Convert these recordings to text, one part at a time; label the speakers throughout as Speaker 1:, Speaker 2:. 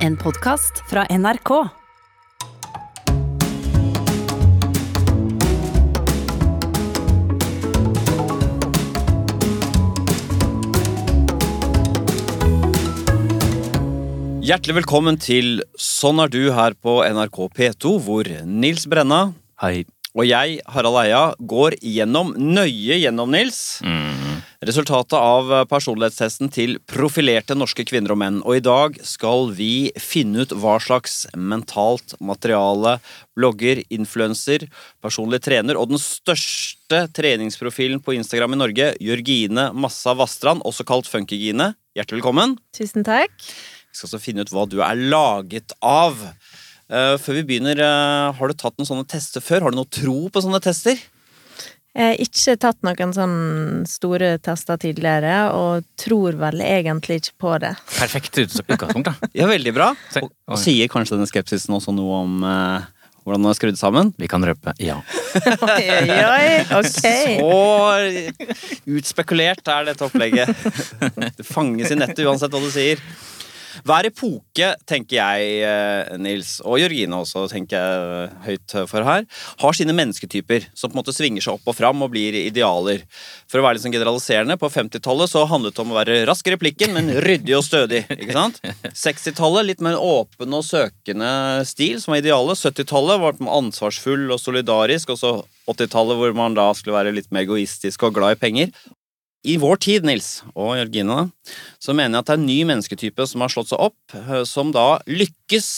Speaker 1: En podkast fra NRK.
Speaker 2: Hjertelig velkommen til Sånn er du her på NRK P2, hvor Nils Brenna
Speaker 3: Hei.
Speaker 2: og jeg, Harald Eia, går gjennom, nøye gjennom Nils. Resultatet av personlighetstesten til profilerte norske kvinner og menn. Og i dag skal vi finne ut hva slags mentalt materiale blogger, influenser, personlig trener og den største treningsprofilen på Instagram i Norge, Jørgine Massa Vastrand, også kalt Funkygine. Hjertelig velkommen.
Speaker 4: Tusen takk.
Speaker 2: Vi skal også finne ut hva du er laget av. Eh, før vi begynner, eh, har du tatt noen sånne tester før? Har du noe tro på sånne tester?
Speaker 4: Jeg har ikke tatt noen sånne store tester tidligere, og tror vel egentlig ikke på det.
Speaker 3: Perfekt uts- utgangspunkt, da.
Speaker 2: Ja, veldig bra.
Speaker 3: Se-
Speaker 2: Og, og sier kanskje denne skepsisen også noe om eh, hvordan den er skrudd sammen?
Speaker 3: Vi kan røpe ja.
Speaker 4: Oi, oi, oi, ok.
Speaker 2: Så utspekulert er dette opplegget. Det fanges i nettet uansett hva du sier. Hver epoke, tenker jeg, eh, Nils, og Jørgine også, tenker jeg eh, høyt for her, har sine mennesketyper som på en måte svinger seg opp og fram og blir idealer. For å være litt sånn generaliserende, på 50-tallet så handlet det om å være rask i replikken, men ryddig og stødig. ikke sant? 60-tallet litt mer åpen og søkende stil, som var idealet. 70-tallet var ansvarsfull og solidarisk, og så 80-tallet hvor man da skulle være litt mer egoistisk og glad i penger. I vår tid, Nils og Jørgine, da, så mener jeg at det er en ny mennesketype som har slått seg opp, eh, som da lykkes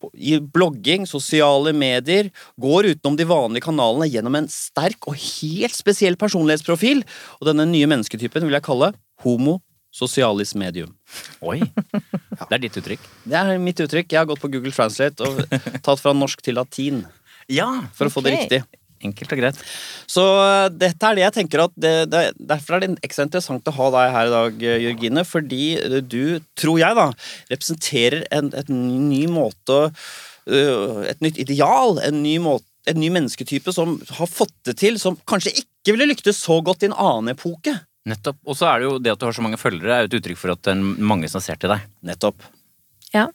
Speaker 2: på- i blogging, sosiale medier, går utenom de vanlige kanalene gjennom en sterk og helt spesiell personlighetsprofil. Og denne nye mennesketypen vil jeg kalle homo sosialis medium.
Speaker 3: Oi. Det er ditt uttrykk.
Speaker 2: Det er mitt uttrykk. Jeg har gått på Google Translate og tatt fra norsk til latin
Speaker 3: Ja.
Speaker 2: for å få det
Speaker 4: Ok.
Speaker 2: riktig.
Speaker 3: Enkelt og greit.
Speaker 2: Så øh, dette er det jeg tenker at det, det, Derfor er det ekstra interessant å ha deg her i dag, øh, Jørgine. Fordi øh, du, tror jeg, da, representerer en et ny måte øh, Et nytt ideal. En ny, måte, en ny mennesketype som har fått det til, som kanskje ikke ville lyktes så godt i en annen epoke.
Speaker 3: Nettopp. Og så er det jo det at du har så mange følgere, er jo et uttrykk for at det er mange som ser til deg.
Speaker 2: Nettopp.
Speaker 4: Ja.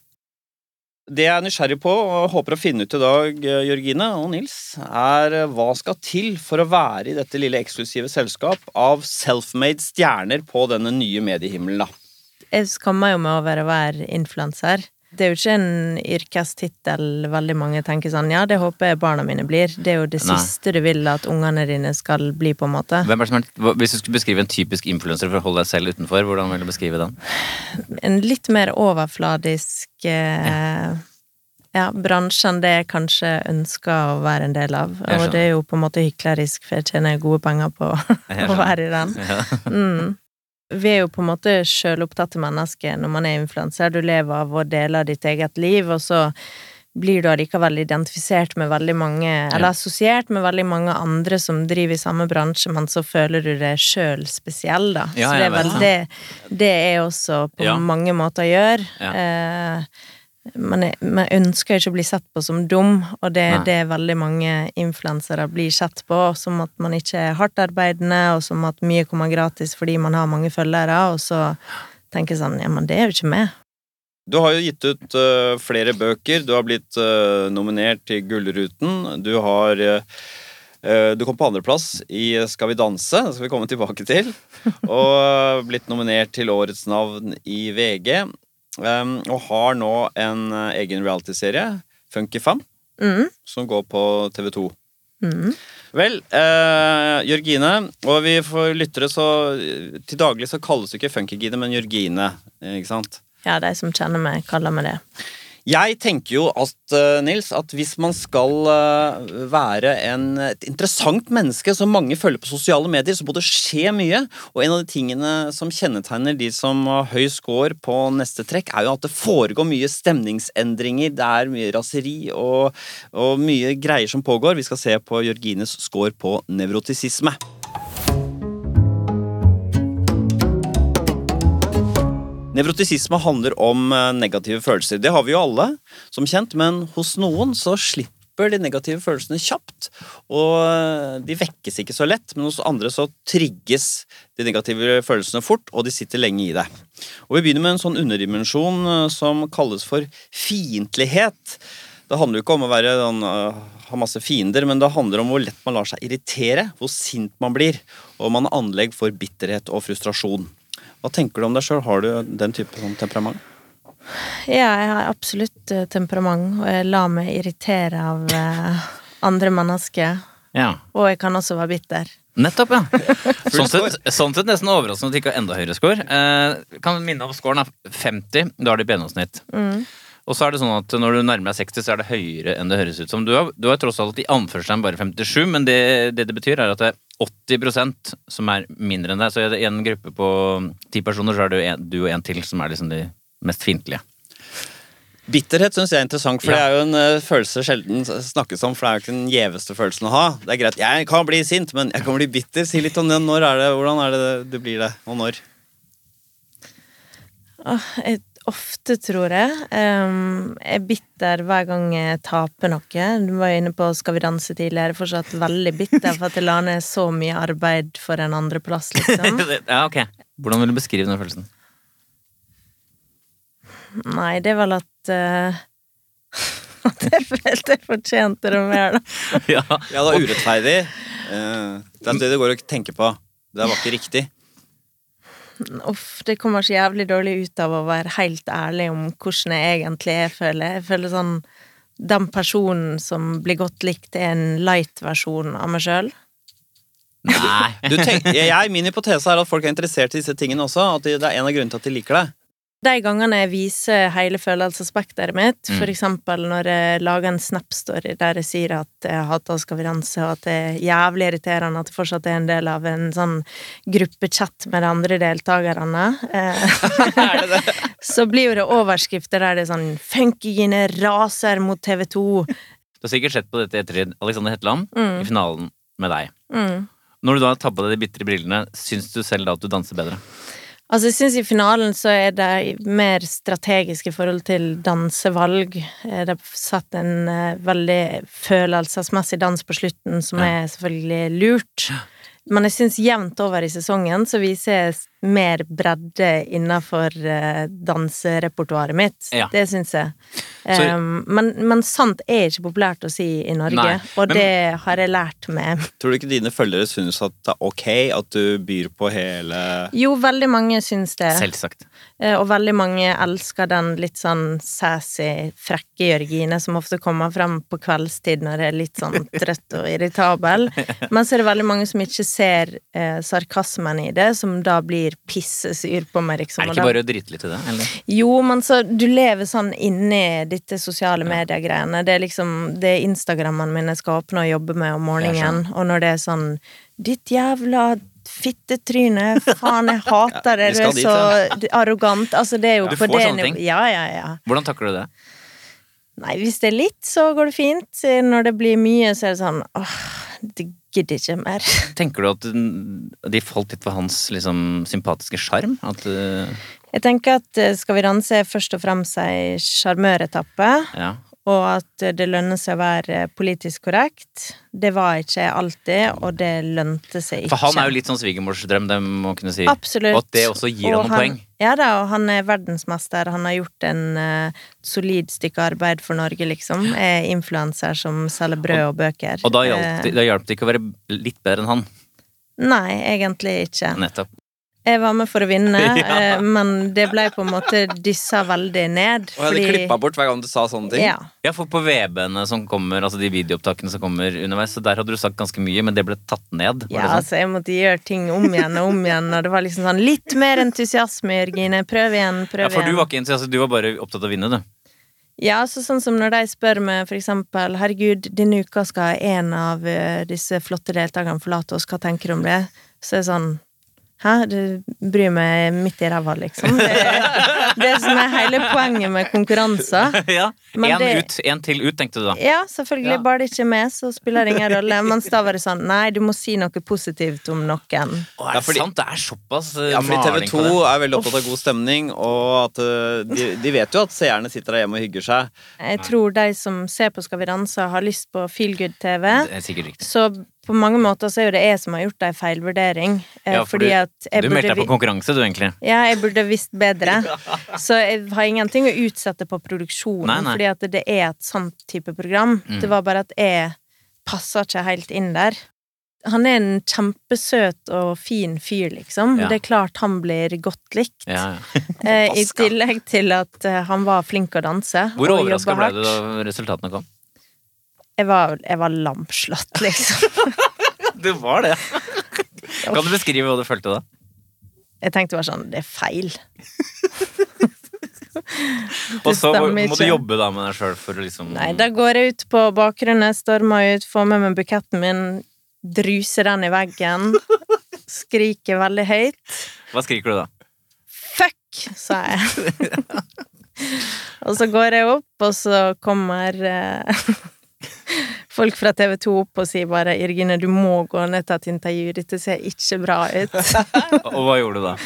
Speaker 2: Det jeg er nysgjerrig på, og håper å finne ut i dag, eh, Jørgine og Nils, er eh, hva skal til for å være i dette lille eksklusive selskap av self-made stjerner på denne nye mediehimmelen, da.
Speaker 4: Jeg skammer jo meg over å være influenser. Det er jo ikke en yrkestittel veldig mange tenker sånn Ja, det håper jeg barna mine blir. Det er jo det
Speaker 3: Nei.
Speaker 4: siste du vil at ungene dine skal bli, på en måte.
Speaker 3: Hvem er det som er, hva- hvis du skulle beskrive en typisk influenser for å holde deg selv utenfor, hvordan vil du beskrive den?
Speaker 4: En litt mer overfladisk eh, ja, bransje enn det jeg kanskje ønsker å være en del av.
Speaker 3: Jeg
Speaker 4: Og det er jo på en måte hyklerisk, for jeg tjener gode penger på
Speaker 3: Jeg
Speaker 4: å
Speaker 3: skjønner.
Speaker 4: være i den.
Speaker 3: Ja.
Speaker 4: Mm. Vi er jo på en måte sjølopptatte mennesker når man er influenser. Du lever av å dele ditt eget liv, og så blir du allikevel identifisert med veldig mange, eller assosiert med veldig mange andre som driver i samme bransje, men så føler du deg sjøl spesiell, da.
Speaker 3: Ja,
Speaker 4: så det
Speaker 3: jeg
Speaker 4: er vel
Speaker 3: vet
Speaker 4: det det jeg også på
Speaker 3: Ja.
Speaker 4: mange måter gjør.
Speaker 3: Ja.
Speaker 4: Eh, men jeg, men jeg ønsker ikke å bli sett på som dum, og det er
Speaker 3: Nei.
Speaker 4: det veldig mange influensere blir sett på, som at man ikke er hardtarbeidende, og som at mye kommer gratis fordi man har mange følgere, og så tenker jeg sånn, ja, men det er jo ikke meg.
Speaker 2: Du har jo gitt ut eh, flere bøker. Du har blitt eh, nominert til Gullruten. Du har eh, eh, Du kom på andreplass i Skal vi danse, det skal vi komme tilbake til. Og eh, blitt nominert til Årets navn i VG. Em, og har nå en eh, egen realityserie, Funky Fam,
Speaker 4: Mm,
Speaker 2: som går på TV2.
Speaker 4: mm.
Speaker 2: Vel, eh, Jørgine, og vi får lyttere så Til daglig så kalles du ikke Funkygine, men Jørgine, eh, ikke sant?
Speaker 4: Ja, de som kjenner meg, kaller meg det.
Speaker 2: Jeg tenker jo at, eh, Nils, at hvis man skal eh, være en, et interessant menneske som mange følger på sosiale medier, så må det skje mye. Og en av de tingene som kjennetegner de som har høy score på neste trekk, er jo at det foregår mye stemningsendringer, det er mye raseri og, og mye greier som pågår. Vi skal se på Jørgines score på nevrotisisme. Nevrotisisme handler om eh, negative følelser. Det har vi jo alle, som kjent, men hos noen så slipper slipper de negative følelsene kjapt. Og eh, de vekkes ikke så lett, men hos andre så trigges de negative følelsene fort, og de sitter lenge i deg. Og vi begynner med en sånn underdimensjon eh, som kalles for fiendtlighet. Det handler jo ikke om å være sånn, øh, ha masse fiender, men det handler om hvor lett man lar seg irritere, hvor sint man blir, og man har anlegg for bitterhet og frustrasjon. Hva tenker du om deg sjøl? Har du den type sånn temperament?
Speaker 4: Ja, jeg har absolutt eh, temperament, og jeg lar meg irritere av eh, andre mennesker.
Speaker 3: Ja.
Speaker 4: Og jeg kan også være bitter.
Speaker 3: Nettopp, ja. Sånn
Speaker 2: score.
Speaker 3: sett, sånn sett nesten overraskende at det ikke er enda høyere score. Eh, kan minne om scoren er 50. Da er det gjennomsnitt. Og så er det sånn at når du nærmer deg 60, så er det høyere enn det høres ut som. Du har, du har tross alt i anførselen bare 57, men det det, det betyr, er at det er 80 som er mindre enn deg. Så i en gruppe på ti personer, så er det jo en, du og en til som er liksom de mest fiendtlige.
Speaker 2: Bitterhet syns jeg er interessant, for
Speaker 3: Ja.
Speaker 2: det er jo en eh, følelse sjelden s- snakkes om. For det er jo ikke den gjeveste følelsen å ha. Det er greit, jeg kan bli sint, men jeg kan bli bitter. Si litt om det. Når er det, hvordan er det du blir det, og når?
Speaker 4: Åh, jeg, ofte, tror jeg. Um, jeg er bitter hver gang jeg taper noe. Du var jo inne på Skal vi danse tidligere. Jeg er Fortsatt veldig bitter for at jeg la ned så mye arbeid for en andreplass, liksom.
Speaker 3: ja, ok. Hvordan vil du beskrive den følelsen?
Speaker 4: Nei, det er vel at eh, At jeg følte jeg fortjente det mer, da.
Speaker 3: ja.
Speaker 2: Ja, det er urettferdig. Eh, Det er det du går og tenker på. Det var ikke riktig.
Speaker 4: Uff, det kommer så jævlig dårlig ut av å være helt ærlig om hvordan jeg egentlig er, føler jeg. Jeg føler sånn Den personen som blir godt likt, er en light-versjon av meg sjøl.
Speaker 3: Nei.
Speaker 2: Du tenk, jeg, min hypotese er at folk er interessert i disse tingene også. At de- det er en av grunnene til at de liker deg.
Speaker 4: De gangene jeg viser hele følelsesspekteret mitt,
Speaker 3: Mm.
Speaker 4: for eksempel når jeg lager en Snap-story der jeg sier at jeg hater Skal vi danse, og at det er jævlig irriterende at jeg fortsatt er en del av en sånn gruppechat med de andre deltakerne eh, Så blir jo det overskrifter der det er sånn 'Funkygine raser mot TV 2'.
Speaker 3: Du har sikkert sett på dette etter Alexander Hetland i finalen med deg.
Speaker 4: Mm.
Speaker 3: Når du da tar på deg de bitre brillene, syns du selv da at du danser bedre?
Speaker 4: Altså, jeg syns i finalen så er de mer strategiske i forhold til dansevalg. Eh, Det er satt en eh, veldig følelsesmessig dans på slutten, som
Speaker 3: Ja.
Speaker 4: er selvfølgelig lurt. Men jeg syns jevnt over i sesongen så viser jeg s- mer bredde innafor eh, danserepertoaret mitt.
Speaker 3: Ja.
Speaker 4: Det syns jeg.
Speaker 3: Så-
Speaker 4: Um, men, men sant er ikke populært å si i Norge,
Speaker 3: Nei,
Speaker 4: og
Speaker 3: men-
Speaker 4: det har jeg lært meg.
Speaker 2: Tror du ikke dine følgere synes at det er ok at du byr på hele
Speaker 4: Jo, veldig mange syns det.
Speaker 3: Selvsagt.
Speaker 4: Eh, Og veldig mange elsker den litt sånn sassy, frekke Jørgine som ofte kommer fram på kveldstid når jeg er litt sånn trøtt og irritabel. Men så er det veldig mange som ikke ser eh, sarkasmen i det, som da blir pissesur på meg, liksom.
Speaker 3: Er det
Speaker 4: Og
Speaker 3: ikke
Speaker 4: da-
Speaker 3: bare å drite litt i det? Eller?
Speaker 4: jo, men så du lever sånn inni dette sosiale medier-greiene. Det er liksom det er Instagrammene mine skal åpne og jobbe med om morgenen. Og når det er sånn Ditt jævla fittetryne, faen, jeg hater det,
Speaker 2: Vi
Speaker 4: du
Speaker 2: skal
Speaker 4: er
Speaker 2: dit,
Speaker 4: så arrogant. Altså, det er jo
Speaker 3: Du
Speaker 4: på
Speaker 3: får
Speaker 4: det
Speaker 3: sånne ting.
Speaker 4: nivået. Ja, ja, ja.
Speaker 3: Hvordan takler du det?
Speaker 4: Nei, hvis det er litt, så går det fint. Når det blir mye, så er det sånn åh, det gidder ikke mer.
Speaker 3: Tenker du at den- de falt litt for hans liksom, sympatiske sjarm? At eh,
Speaker 4: Jeg tenker at eh, Skal vi danse er først og fremst ei sjarmøretappe.
Speaker 3: Ja.
Speaker 4: Og at det lønner seg å være politisk korrekt. Det var ikke jeg alltid, og det lønte seg ikke.
Speaker 3: For han er jo litt sånn svigermorsdrøm, det må man kunne si.
Speaker 4: Absolutt.
Speaker 3: Og at det også gir
Speaker 4: Og
Speaker 3: han noen poeng.
Speaker 4: Ja da, og han er verdensmester. Han har gjort en eh, solid stykke arbeid for Norge, liksom. Er influenser som selger brød og bøker.
Speaker 3: Og da hjalp det-
Speaker 4: Eh,
Speaker 3: da hjalp det ikke å være litt bedre enn han.
Speaker 4: Nei, egentlig ikke.
Speaker 3: Nettopp.
Speaker 4: Jeg var med for å vinne,
Speaker 3: Ja.
Speaker 4: eh, men det ble på en måte dyssa veldig ned.
Speaker 2: Og jeg hadde klippa bort hver gang du sa sånne ting.
Speaker 4: Ja.
Speaker 3: Ja, for på VB-ene som kommer, altså de videoopptakene som kommer underveis, så der hadde du sagt ganske mye, men det ble tatt ned. Var
Speaker 4: Ja,
Speaker 3: det sånn?
Speaker 4: altså, jeg måtte gjøre ting om igjen og om igjen, og det var liksom sånn Litt mer entusiasme, Jørgine. Prøv igjen, prøv
Speaker 3: ja,
Speaker 4: igjen.
Speaker 3: for du var ikke entusiast, du var bare opptatt av å vinne, du.
Speaker 4: Ja, så sånn som når de spør meg for eksempel Herregud, denne uka skal en av eh, disse flotte deltakerne forlate oss, hva tenker du om det? Så er det sånn Hæ, du bryr meg midt i ræva, liksom. Det, er det som er hele poenget med konkurranser.
Speaker 3: ja.
Speaker 4: Men
Speaker 3: Én
Speaker 4: det-
Speaker 3: ut, én til ut, tenkte du da.
Speaker 4: Ja, selvfølgelig.
Speaker 3: Ja.
Speaker 4: Bare det ikke er med, så spiller det ingen rolle. Mens da var det sånn Nei, du må si noe positivt om noen.
Speaker 3: Å, er
Speaker 2: Ja,
Speaker 3: det
Speaker 2: fordi-
Speaker 3: sant? Det er såpass eh,
Speaker 2: Ja, fordi TV
Speaker 3: maling på
Speaker 2: 2
Speaker 3: det.
Speaker 2: er veldig opptatt av god stemning, og at eh, de, de vet jo at seerne sitter der hjemme og hygger seg.
Speaker 4: Jeg tror de som ser på Skal vi danse, har lyst på feel good-TV.
Speaker 3: Det er sikkert riktig.
Speaker 4: Så på mange måter så er jo det jeg som har gjort ei feilvurdering. eh,
Speaker 3: Ja, for
Speaker 4: fordi
Speaker 3: du-
Speaker 4: at jeg
Speaker 3: Du meldte
Speaker 4: burde,
Speaker 3: deg på
Speaker 4: vi-
Speaker 3: konkurranse, du, egentlig.
Speaker 4: ja, jeg burde visst bedre. Så jeg har ingenting å utsette på produksjonen,
Speaker 3: Nei, nei.
Speaker 4: fordi at det er et sånt type program.
Speaker 3: Mm.
Speaker 4: Det var bare at jeg passer ikke helt inn der. Han er en kjempesøt og fin fyr, liksom.
Speaker 3: Ja.
Speaker 4: Det er klart han blir godt likt.
Speaker 3: Ja, ja.
Speaker 4: Eh, I
Speaker 2: Pascal.
Speaker 4: tillegg til at eh, han var flink å danse.
Speaker 3: Hvor
Speaker 4: og
Speaker 3: overraska
Speaker 4: jobba hardt.
Speaker 3: ble du da resultatene kom?
Speaker 4: Jeg var, jeg var lamslått, liksom.
Speaker 3: Det var det. Kan du beskrive hva du følte da?
Speaker 4: Jeg tenkte bare sånn Det er feil.
Speaker 3: Og så må,
Speaker 4: stemmer
Speaker 3: må du
Speaker 4: ikke.
Speaker 3: jobbe da med deg sjøl for å liksom
Speaker 4: Nei, da går jeg ut på bakgrunnen, stormer ut, får med meg buketten min, druser den i veggen, skriker veldig høyt.
Speaker 3: Hva skriker du da?
Speaker 4: Fuck, sa jeg. og så går jeg opp, og så kommer eh, folk fra TV 2 opp og sier bare 'Jørgine, du må gå ned til et intervju. Dette ser ikke bra ut'.
Speaker 3: Og og hva gjorde du da?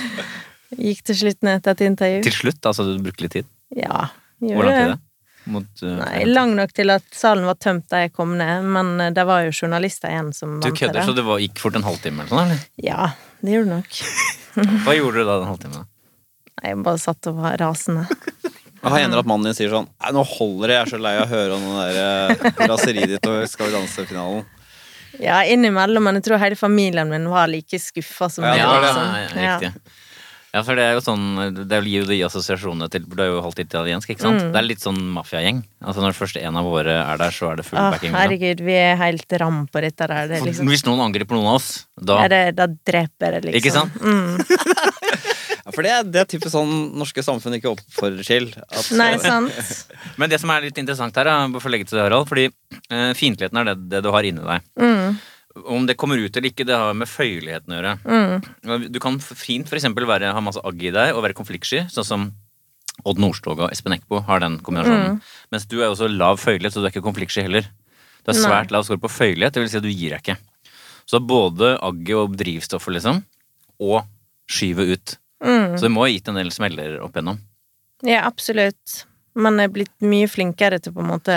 Speaker 4: Gikk til slutt ned til et intervju.
Speaker 3: Til slutt? Altså, du brukte litt tid?
Speaker 4: Ja,
Speaker 3: Hvor
Speaker 4: gjorde
Speaker 3: lang
Speaker 4: det.
Speaker 3: tid? det? Mot, uh,
Speaker 4: Nei, lang nok til at salen var tømt da jeg kom ned, men eh, det var jo journalister igjen som vant
Speaker 3: Du
Speaker 4: til
Speaker 3: kødder, så
Speaker 4: det.
Speaker 3: det var, gikk fort en halvtime eller sånn, eller?
Speaker 4: Ja, det gjorde det nok.
Speaker 3: Hva gjorde du da den halvtimen? da?
Speaker 4: Nei, Jeg bare satt og var rasende.
Speaker 2: Jeg
Speaker 4: Mhm.
Speaker 2: har hender at mannen din sier sånn Nei, nå holder det, jeg er så lei av å høre om den der eh, raseriet ditt og Skal vi danse-finalen.
Speaker 4: Ja, innimellom, men jeg tror hele familien min var like skuffa som
Speaker 2: Ja,
Speaker 4: meg.
Speaker 2: det var det.
Speaker 4: liksom.
Speaker 3: ja, riktig. Ja, for det er jo sånn Det gir jo de assosiasjonene til Du er jo halvt italiensk, ikke sant? Det er litt sånn mafiagjeng. Altså, når først en av våre er der, så er det full
Speaker 4: Å,
Speaker 3: backing. liksom. da.
Speaker 4: herregud, vi er helt ram på dette der. Det er liksom,
Speaker 3: Hvis noen angriper noen av oss, da
Speaker 4: ja, det, da dreper jeg, liksom.
Speaker 3: Ikke sant?
Speaker 4: Mm.
Speaker 2: Ja, for det, det er typisk sånn norske samfunn ikke oppfordrer til. At,
Speaker 4: Nei, sant?
Speaker 3: Men det som er litt interessant her, da, for å legge til det, Harald, fordi eh, fiendtligheten er det, det du har inni deg.
Speaker 4: Mm.
Speaker 3: Om det kommer ut eller ikke, det har med føyeligheten å gjøre.
Speaker 4: Mm.
Speaker 3: Du kan fint for eksempel være, ha masse agg i deg og være konfliktsky, sånn som Odd Nordstoga og Espen Eckbo har den kombinasjonen.
Speaker 4: Mm.
Speaker 3: Mens du er jo så lav føyelighet, så du er ikke konfliktsky heller. Du har
Speaker 4: Nei.
Speaker 3: svært lav skår på føyelighet, det vil si at du gir deg ikke. Så både agget og drivstoffet, liksom, og skyvet ut.
Speaker 4: Mm.
Speaker 3: Så det må ha gitt en del smeller opp igjennom.
Speaker 4: Ja, absolutt. Men jeg er blitt mye flinkere til på en måte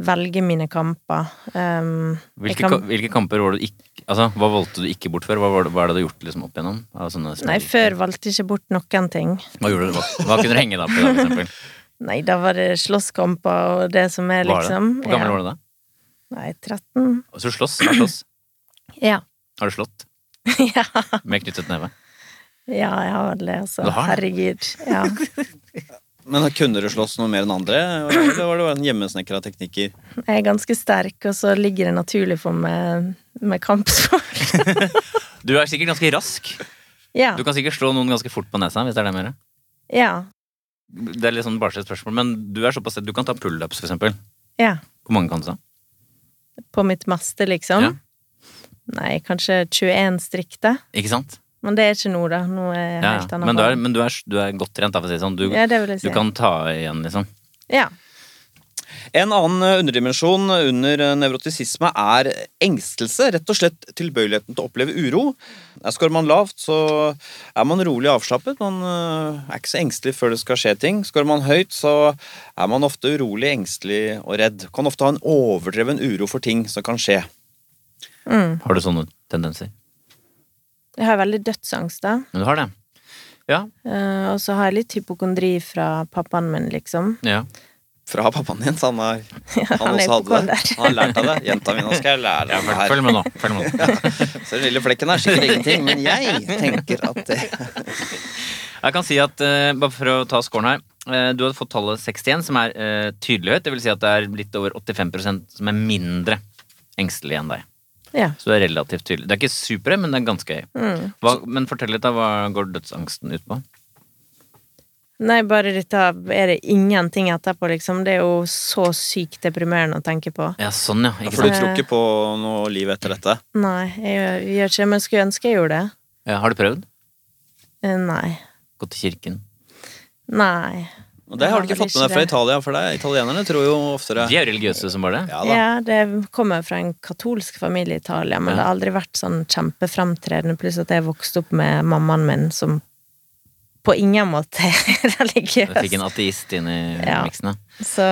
Speaker 4: velge mine kamper. Um, jeg
Speaker 3: Hvilke,
Speaker 4: kan-
Speaker 3: ka- hvilke kamper var det du ikke Altså, Hva valgte du ikke bort før? Hva, var det, hva er det du har gjort liksom, opp igjennom? Av sånne små-
Speaker 4: Nei, før valgte jeg ikke bort noen ting.
Speaker 3: Hva, gjorde du, hva, hva kunne du henge deg opp i, da, for eksempel?
Speaker 4: Nei, da var det slåsskamper og det som er,
Speaker 3: Var det?
Speaker 4: liksom.
Speaker 3: Hvor gammel
Speaker 4: ja.
Speaker 3: var du da?
Speaker 4: Nei, 13.
Speaker 3: Og Så du slåss? Har du slåss?
Speaker 4: Ja.
Speaker 3: Har du slått?
Speaker 4: ja.
Speaker 3: Med knyttet neve?
Speaker 4: Ja, jeg har det, altså.
Speaker 3: Du har
Speaker 4: Herregud. Ja.
Speaker 2: Men kunne du slåss noe mer enn andre? Eller var det bare en hjemmesnekra teknikker?
Speaker 4: Jeg er ganske sterk, og så ligger det naturlig for meg med kampsport.
Speaker 3: Du er sikkert ganske rask.
Speaker 4: ja.
Speaker 3: Du kan sikkert slå noen ganske fort på nesa. hvis Det er det mer.
Speaker 4: ja.
Speaker 3: Det er litt sånn barnslig spørsmål, men du er såpass du kan ta pullups, for eksempel.
Speaker 4: Ja.
Speaker 3: Hvor mange kan du ta?
Speaker 4: På mitt meste, liksom.
Speaker 3: Ja.
Speaker 4: Nei, kanskje 21 strikk, da.
Speaker 3: Ikke sant?
Speaker 4: Men det er ikke nå, da. Nå er jeg
Speaker 3: Ja,
Speaker 4: helt
Speaker 3: ja.
Speaker 4: annet.
Speaker 3: Men, du er, men du, er, du er godt trent, da, for å si det sånn. Du,
Speaker 4: ja, det vil jeg
Speaker 3: du
Speaker 4: si.
Speaker 3: kan ta igjen, liksom.
Speaker 4: Ja.
Speaker 2: En annen eh, underdimensjon under eh, nevrotisisme er engstelse. Rett og slett tilbøyeligheten til å oppleve uro. Eh, Skårer man lavt, så er man rolig og avslappet. Man eh, er ikke så engstelig før det skal skje ting. Skårer man høyt, så er man ofte urolig, engstelig og redd. Kan ofte ha en overdreven uro for ting som kan skje.
Speaker 4: Mm.
Speaker 3: Har du sånne tendenser?
Speaker 4: Jeg har veldig dødsangst, da.
Speaker 3: Men du har det? Ja.
Speaker 4: Eh, og så har jeg litt hypokondri fra pappaen min, liksom.
Speaker 3: ja.
Speaker 2: Fra pappaen din, så han, har-
Speaker 4: han
Speaker 2: han
Speaker 4: er
Speaker 2: også hadde det.
Speaker 4: hypokonder.
Speaker 2: Han har lært av det. Jenta mi, nå skal jeg lære
Speaker 3: Ja,
Speaker 2: av det
Speaker 3: følg,
Speaker 2: her.
Speaker 3: følg med nå. Følg med nå.
Speaker 2: Så den lille flekken er sikkert ingenting, men jeg tenker at det
Speaker 3: Jeg kan si at, eh, bare for å ta scoren her eh, Du hadde fått tallet 61, som er eh, tydelig høyt. Det vil si at det er litt over 85 som er mindre engstelig enn deg.
Speaker 4: Ja.
Speaker 3: Så det er relativt tydelig. Det er ikke superhøy, men det er ganske høy.
Speaker 4: Mm.
Speaker 3: Hva, men fortell litt, da. Hva går dødsangsten ut på?
Speaker 4: Nei, bare dette er det ingenting etterpå, liksom. Det er jo så sykt deprimerende å tenke på.
Speaker 3: Ja, sånn, ja.
Speaker 2: Ja,
Speaker 3: Ikke
Speaker 2: For du
Speaker 3: sant?
Speaker 2: tror ikke på noe liv etter dette?
Speaker 4: Nei, jeg gjør- gjør ikke det, men skulle ønske jeg gjorde det.
Speaker 3: Ja, har du prøvd?
Speaker 4: Eh, Nei.
Speaker 3: Gått til kirken?
Speaker 4: Nei.
Speaker 2: Og det har du
Speaker 4: Jeg
Speaker 2: ikke
Speaker 4: har
Speaker 2: fått med deg
Speaker 4: vel
Speaker 2: fra
Speaker 4: ikke det.
Speaker 2: Italia, for det, italienerne tror jo oftere
Speaker 3: De er religiøse som bare det.
Speaker 2: Ja da.
Speaker 4: Ja, det kommer fra en katolsk familie i Italia, men
Speaker 3: Ja.
Speaker 4: det har aldri vært sånn kjempefremtredende, pluss at jeg vokste opp med mammaen min som på ingen måte er
Speaker 3: Jeg fikk en
Speaker 4: religiøs.
Speaker 3: ateist inn i
Speaker 4: Ja.
Speaker 3: miksen. ja.
Speaker 4: Så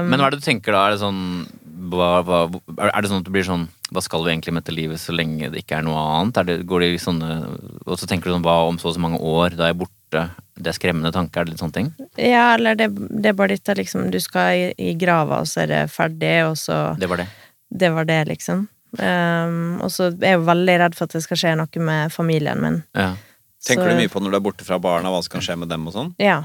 Speaker 4: um,
Speaker 3: Men hva er det du tenker da? Er det sånn hva, hva, Er det sånn at du blir sånn Hva skal vi egentlig med dette livet så lenge det ikke er noe annet? Er det, går det i sånne Og så tenker du sånn Hva om så og så mange år? Da er jeg borte. Det er skremmende tanker. Er det litt sånne ting?
Speaker 4: Ja, eller det, det er bare dette liksom Du skal i, i grava, og så er det ferdig, og så
Speaker 3: Det var det.
Speaker 4: Det var det, liksom. Um, og så er jeg jo veldig redd for at det skal skje noe med familien min.
Speaker 3: Ja.
Speaker 2: Tenker
Speaker 4: så,
Speaker 2: du mye på når du er borte fra barna, hva som kan skje med dem og sånn?
Speaker 4: Ja.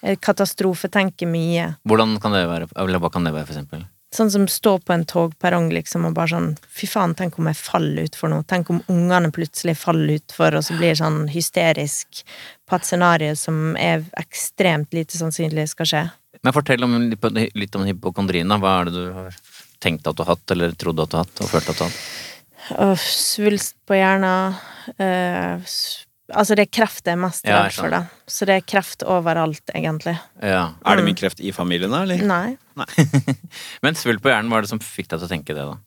Speaker 4: Jeg Katastrofetenker mye.
Speaker 3: Hvordan kan det være? Eller hva kan det være, for eksempel?
Speaker 4: Sånn som stå på en togperrong liksom, og bare sånn Fy faen, tenk om jeg faller utfor noe. Tenk om ungene plutselig faller utfor, og så blir det sånn hysterisk på et scenario som er ekstremt lite sannsynlig skal skje.
Speaker 3: Men fortell om, litt om hypokondrien. da. Hva er det du har tenkt at du har hatt, eller trodd at du har hatt, og følt at du har hatt?
Speaker 4: Åh, svulst på hjernen. eh, s- altså, det er kreft jeg er mest
Speaker 3: Ja, jeg
Speaker 4: redd for, da. Så det er kreft overalt, egentlig.
Speaker 3: Ja.
Speaker 2: Er det mye kreft i familien, da, eller?
Speaker 4: Nei.
Speaker 3: Men svulp på hjernen, hva er det som fikk deg til å tenke det, da?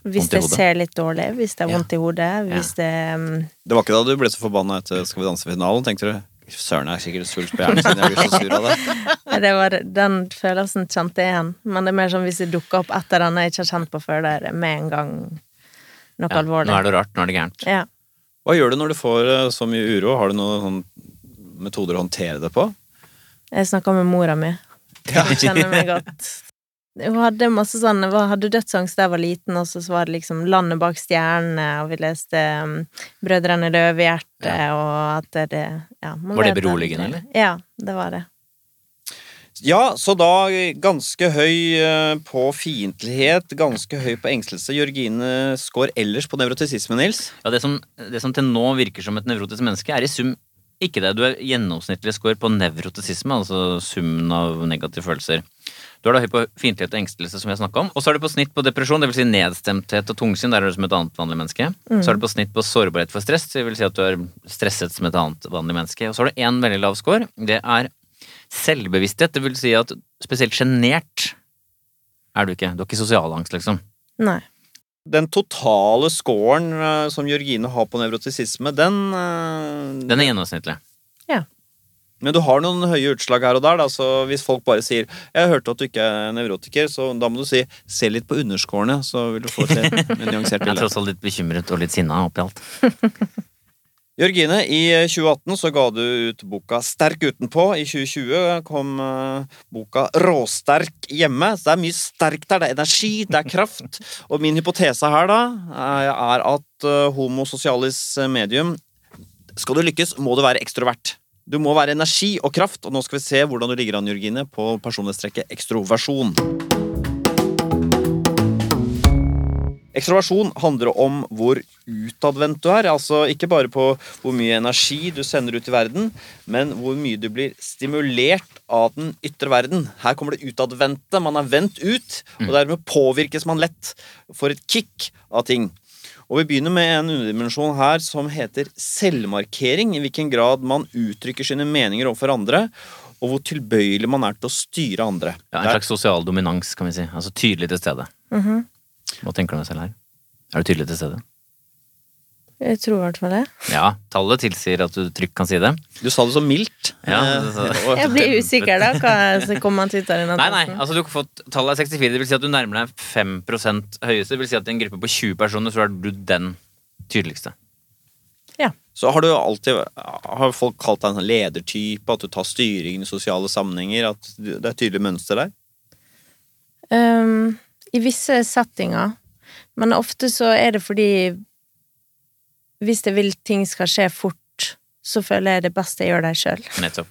Speaker 4: Hvis
Speaker 3: Vondt i
Speaker 4: jeg
Speaker 3: hodet.
Speaker 4: ser litt dårlig, hvis det er
Speaker 3: Ja.
Speaker 4: vondt i hodet,
Speaker 3: Ja.
Speaker 4: hvis det mm,
Speaker 2: Det var ikke da du ble så forbanna etter Skal vi danse-finalen, tenkte du? Søren, jeg er sikkert svulst på hjernen siden jeg blir så sur av det.
Speaker 4: det var, Den følelsen kjente jeg igjen. Men det er mer sånn hvis det dukker opp et eller annet jeg ikke har kjent på før, da er det med en gang noe
Speaker 3: Ja,
Speaker 4: alvorlig.
Speaker 3: Nå er det rart, nå er det gærent.
Speaker 4: Ja.
Speaker 2: Hva gjør du når du får eh, så mye uro? Har du noen sånn metoder å håndtere det på?
Speaker 4: Jeg snakka med mora mi. Hun kjenner meg godt. Hun hadde masse sånn Hun hadde dødsangst da jeg var liten, og så var det liksom 'Landet bak stjernene', og vi leste um, 'Brødrene Løvehjerte', og at det ja, man
Speaker 3: Var det
Speaker 4: vet
Speaker 3: beroligende,
Speaker 4: aldri. Ja, det var det.
Speaker 2: Ja, så da ganske høy eh, på fiendtlighet, ganske høy på engstelse. Jørgine skår ellers på nevrotisisme, Nils.
Speaker 3: Ja, det, som, det som til nå virker som et nevrotisk menneske, er i sum ikke det. Du er gjennomsnittlig score på nevrotisisme, altså summen av negative følelser. Du er da høy på fiendtlighet og engstelse, som jeg snakka om. Og så er du på snitt på depresjon, dvs. Si nedstemthet og tungsinn. Der er du som et annet vanlig menneske. Så er du på snitt på sårbarhet for stress, det vil Si at du er stresset som et annet vanlig menneske. Og så har du én veldig lav score. Det er selvbevissthet. Det vil si at spesielt sjenert er du ikke. Du har ikke sosial angst, liksom.
Speaker 4: Nei.
Speaker 2: Den totale scoren eh, som Jørgine har på nevrotisisme, den, eh,
Speaker 3: Den er gjennomsnittlig.
Speaker 2: Men du har noen høye utslag her og der, da, så hvis folk bare sier 'Jeg hørte at du ikke er nevrotiker', så da må du si 'se litt på underskårene', så vil du få et litt mer nyansert
Speaker 3: Jeg er
Speaker 2: bilde.
Speaker 3: tross alt litt bekymret og litt sinna oppi alt.
Speaker 2: Jørgine, i 2018 så ga du ut boka Sterk utenpå. I 2020 kom eh, boka Råsterk hjemme. Så det er mye sterkt her. Det er energi, det er kraft. Og min hypotese her da eh, er at eh, homo socialis medium Skal du lykkes, må du være ekstrovert. Du må være energi og kraft, og nå skal vi se hvordan du ligger an, Jørgine, på personlighetstrekket ekstroversjon. Ekstroversjon handler om hvor utadvendt du er. Altså ikke bare på hvor mye energi du sender ut i verden, men hvor mye du blir stimulert av den ytre verden. Her kommer det utadvendte. Man er vendt ut,
Speaker 3: Mm.
Speaker 2: og dermed påvirkes man lett. Får et kick av ting. Og vi begynner med en underdimensjon her som heter selvmarkering. I hvilken grad man uttrykker sine meninger overfor andre, og hvor tilbøyelig man er til å styre andre.
Speaker 3: Ja, en
Speaker 2: Der-
Speaker 3: slags sosial dominans, kan vi si. Altså tydelig til stede.
Speaker 4: Mhm.
Speaker 3: Hva tenker du om deg selv her? Er du tydelig til stede?
Speaker 4: Jeg tror i hvert fall det.
Speaker 3: Ja, tallet tilsier at du trygt kan si det.
Speaker 2: du sa det så mildt.
Speaker 3: Ja,
Speaker 2: Eh,
Speaker 3: det sa jeg.
Speaker 2: og-
Speaker 4: Jeg blir usikker, da. Hva som kommer man til ut av denne
Speaker 3: Nei, nei,
Speaker 4: testen?
Speaker 3: altså du har fått tallet er 64, det vil si at du nærmer deg 5 høyeste. Det vil si at i en gruppe på 20 personer så er du den tydeligste.
Speaker 2: Så har du alltid Har folk kalt deg en sånn ledertype, at du tar styringen i sosiale sammenhenger, at du- det er et tydelig mønster der?
Speaker 4: Ehm, I visse settinger. Men ofte så er det fordi Hvis jeg vil ting skal skje fort, så føler jeg det best jeg gjør det sjøl.
Speaker 3: Nettopp.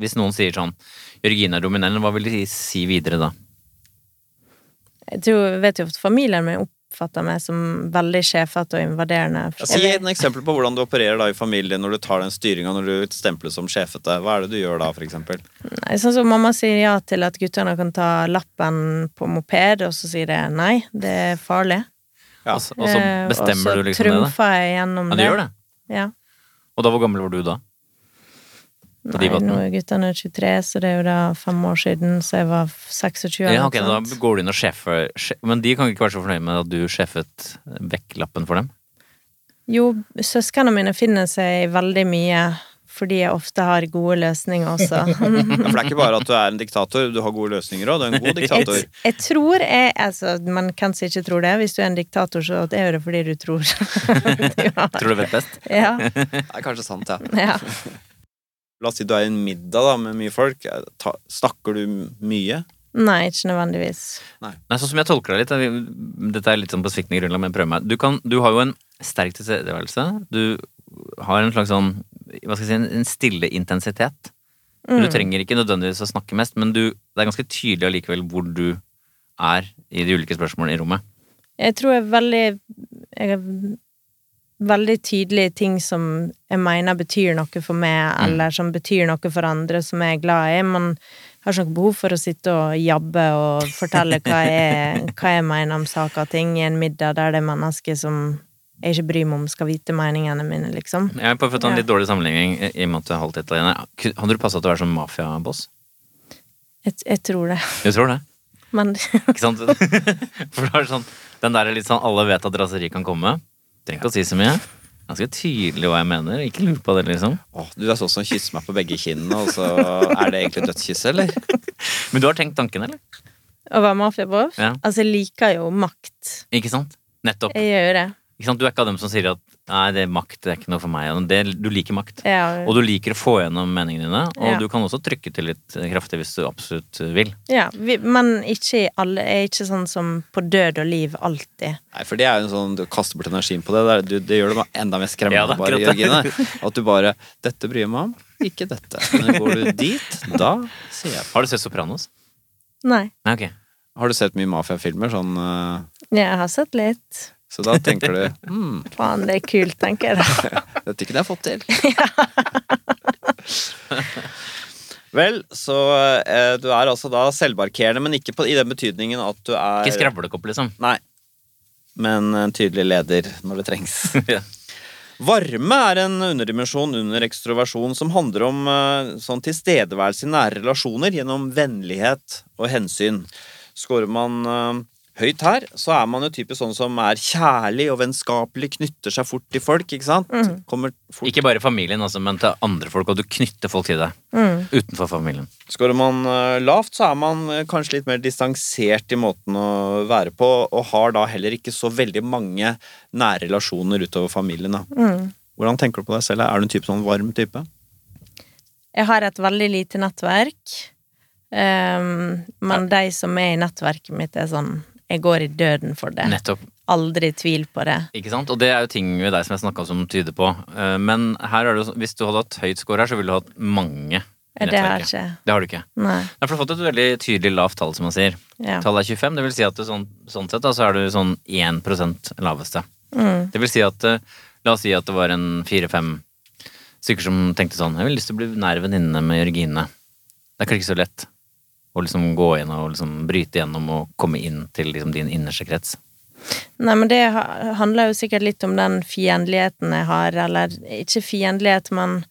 Speaker 3: Hvis noen sier sånn 'Jørgine er dominerende', hva vil de si videre da?
Speaker 4: Jeg tror, jeg vet jo at familien min oppfatter meg som veldig sjefete og invaderende.
Speaker 2: Si et eksempel på hvordan du opererer da i familien når du tar den styringa, når du stemples som sjefete. Hva er det du gjør da, for eksempel?
Speaker 4: Nei, Sånn som mamma sier ja til at guttene kan ta lappen på moped, og så sier jeg nei, det er farlig.
Speaker 2: Ja.
Speaker 3: Altså, Og, så, og så
Speaker 2: Altså,
Speaker 4: Eh,
Speaker 3: bestemmer
Speaker 4: og så
Speaker 3: du liksom det, da?
Speaker 4: trumfer jeg gjennom
Speaker 3: Ja, du gjør det.
Speaker 4: Ja.
Speaker 3: Og da, hvor gammel var du da? På
Speaker 4: Nei,
Speaker 3: de
Speaker 4: nå
Speaker 3: vattene?
Speaker 4: er guttene 23, så det er jo da fem år siden, så jeg var 26.
Speaker 3: Ja,
Speaker 4: eller
Speaker 3: ok,
Speaker 4: noe
Speaker 3: da
Speaker 4: sånt.
Speaker 3: går du inn og sjefer sje- Men de kan ikke være så fornøyd med at du sjefet vekk lappen for dem?
Speaker 4: Jo, søsknene mine finner seg i veldig mye, fordi jeg ofte har gode løsninger også.
Speaker 2: Ja, for det er ikke bare at du er en diktator, du har gode løsninger òg. Du er en god diktator.
Speaker 4: Jeg, jeg tror jeg, altså, Man kan kanskje ikke tro det. Hvis du er en diktator, så er det fordi du tror. du har-
Speaker 3: Tror du vet best?
Speaker 4: ja,
Speaker 2: Det er kanskje sant, ja.
Speaker 4: ja.
Speaker 2: La oss si du er i en middag da, med mye folk. Er- Ta, snakker du mye?
Speaker 4: Nei, ikke nødvendigvis.
Speaker 3: Nei, sånn som jeg tolker deg litt, er vi- dette er litt sånn på sviktende grunnlag, men prøv meg. Du, kan, du har jo en sterk tilstedeværelse. Du har en slags sånn, hva skal jeg si, en- en stille intensitet.
Speaker 4: Mm.
Speaker 3: Du trenger ikke nødvendigvis å snakke mest, men du, det er ganske tydelig allikevel hvor du er i de ulike spørsmålene i rommet.
Speaker 4: Jeg tror jeg er veldig Jeg er veldig tydelig i ting som jeg mener betyr noe for meg, eller som betyr noe for andre som jeg er glad i. Man har ikke noe behov for å sitte og jabbe og fortelle hva jeg, hva jeg mener om saker og ting i en middag der det er mennesker som jeg ikke bryr meg om skal vite meningene mine, liksom.
Speaker 3: Jeg har prøvd å ta en
Speaker 4: Ja.
Speaker 3: litt dårlig sammenligning i i og med at du er halvt italiener. Ku- Hadde du passa at du er som mafiaboss?
Speaker 4: Jeg, jeg tror det.
Speaker 3: Jeg tror det.
Speaker 4: Men
Speaker 3: Ikke sant? For det er sånn, den der er litt sånn alle vet at raseri kan komme. Trenger ikke å si så mye. Ganske tydelig hva jeg mener. Ikke lur på det, liksom.
Speaker 2: Åh, du er sånn som kysser meg på begge kinnene, og så er det egentlig dødskyss, eller?
Speaker 3: Men du har tenkt tanken, eller?
Speaker 4: å være mafiaboff
Speaker 3: Ja.
Speaker 4: Altså, jeg liker jo makt.
Speaker 3: Ikke sant? Nettopp.
Speaker 4: Jeg gjør jo det.
Speaker 3: Ikke sant? Du er ikke av dem som sier at 'nei, det er makt, det er ikke noe for meg'. Og Det, du liker makt.
Speaker 4: Jeg,
Speaker 3: Og du liker å få gjennom meningene dine. Og
Speaker 4: Ja.
Speaker 3: du kan også trykke til litt eh, kraftig hvis du absolutt vil.
Speaker 4: Ja, vi, men ikke i alle Jeg er ikke sånn som på død og liv alltid.
Speaker 2: Nei, for det er jo en sånn Du kaster bort energien på det. Det, er- du, det gjør det bare enda mer
Speaker 3: Ja,
Speaker 2: skremmende,
Speaker 3: det er
Speaker 2: bare,
Speaker 3: akkurat det.
Speaker 2: Jørgine. At du bare 'Dette bryr jeg meg om, ikke dette'. Men går du dit, da sier jeg
Speaker 3: Har du sett Sopranos?
Speaker 4: Nei.
Speaker 3: Nei, ok.
Speaker 2: Har du sett mye mafiafilmer sånn eh,
Speaker 4: Jeg har sett litt.
Speaker 2: Så da tenker du hmm,
Speaker 4: Faen, det er kult, tenker jeg da.
Speaker 2: Dette kunne jeg fått til. Vel, så eh, du er altså da selvmarkerende, men ikke på, i den betydningen at du er
Speaker 3: Ikke skravlekopp, liksom.
Speaker 2: Nei. Men en tydelig leder når det trengs.
Speaker 3: Ja.
Speaker 2: Varme er en underdimensjon under ekstroversjon som handler om eh, sånn tilstedeværelse i nære relasjoner gjennom vennlighet og hensyn. Skårer man eh, høyt her, så er man jo typisk sånn som er kjærlig og vennskapelig, knytter seg fort til folk, ikke sant? Kommer fort
Speaker 3: Ikke bare familien, altså, men til andre folk, og du knytter folk til deg. Utenfor familien.
Speaker 2: Skårer man eh, lavt, så er man eh, kanskje litt mer distansert i måten å være på, og har da heller ikke så veldig mange nære relasjoner utover familien. Da. Hvordan tenker du på deg selv? Er du en type sånn varm type?
Speaker 4: Jeg har et veldig lite nettverk. Ehm, men de som er i nettverket mitt, er sånn Jeg går i døden for det.
Speaker 3: Nettopp.
Speaker 4: Aldri tvil på det.
Speaker 3: Ikke sant? Og det er jo ting ved deg som jeg snakka om som tyder på. Eh, Men her er det, jo så- hvis du hadde hatt høyt score her, så ville du hatt mange. i
Speaker 4: Ja, Det har
Speaker 3: nettverket.
Speaker 4: jeg ikke
Speaker 3: Det har du ikke.
Speaker 4: Nei.
Speaker 3: Nei, for Du har fått et veldig tydelig lavt tall, som man sier.
Speaker 4: Ja.
Speaker 3: Tallet er 25, det vil si at det sånn, sånn sett da, så er du sånn 1 laveste.
Speaker 4: Mm.
Speaker 3: Det vil si at eh, La oss si at det var en fire-fem stykker som tenkte sånn Jeg vil lyst til å bli nær venninne med Jørgine. Det er kanskje ikke så lett å liksom gå inn og liksom bryte gjennom og komme inn til liksom din innerste krets.
Speaker 4: Nei, men det ha- handler jo sikkert litt om den fiendligheten jeg har, eller ikke fiendlighet, men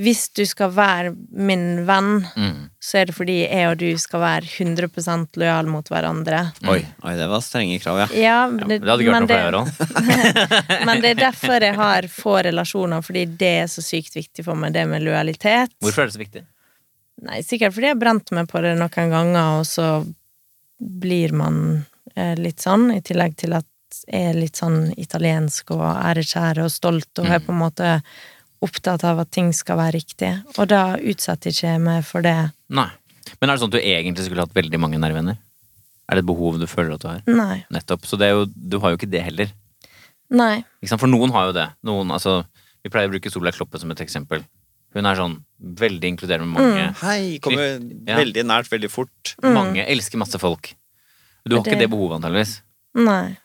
Speaker 4: hvis du skal være min venn,
Speaker 3: Mm.
Speaker 4: så er det fordi jeg og du skal være 100 lojal mot hverandre.
Speaker 3: Mm.
Speaker 2: Oi, oi, det var strenge krav, ja.
Speaker 4: Ja,
Speaker 3: Det hadde ikke vært noe for deg, Harald.
Speaker 4: men det er derfor jeg har få relasjoner, fordi det er så sykt viktig for meg, det med lojalitet.
Speaker 3: Hvorfor er det så viktig?
Speaker 4: Nei, sikkert fordi jeg brant meg på det noen ganger, og så blir man eh, litt sånn, i tillegg til at jeg er litt sånn italiensk og ærekjær og stolt, og er
Speaker 3: Mm.
Speaker 4: på en måte opptatt av at ting skal være riktig. Og da utsetter ikke jeg meg for det.
Speaker 3: Nei. Men er det sånn at du egentlig skulle hatt veldig mange nærvenner? Er det et behov du føler at du har?
Speaker 4: Nei.
Speaker 3: Nettopp. Så det er jo, du har jo ikke det heller.
Speaker 4: Nei.
Speaker 3: Ikke sant? For noen har jo det. Noen, altså, vi pleier å bruke Solveig Kloppe som et eksempel. Hun er sånn veldig inkluderende med mange.
Speaker 2: Hei, kommer
Speaker 3: Ja.
Speaker 2: veldig nært veldig fort.
Speaker 3: Mange elsker masse folk. Du har
Speaker 4: Det-
Speaker 3: ikke Mm. det behovet, antageligvis.
Speaker 4: Nei.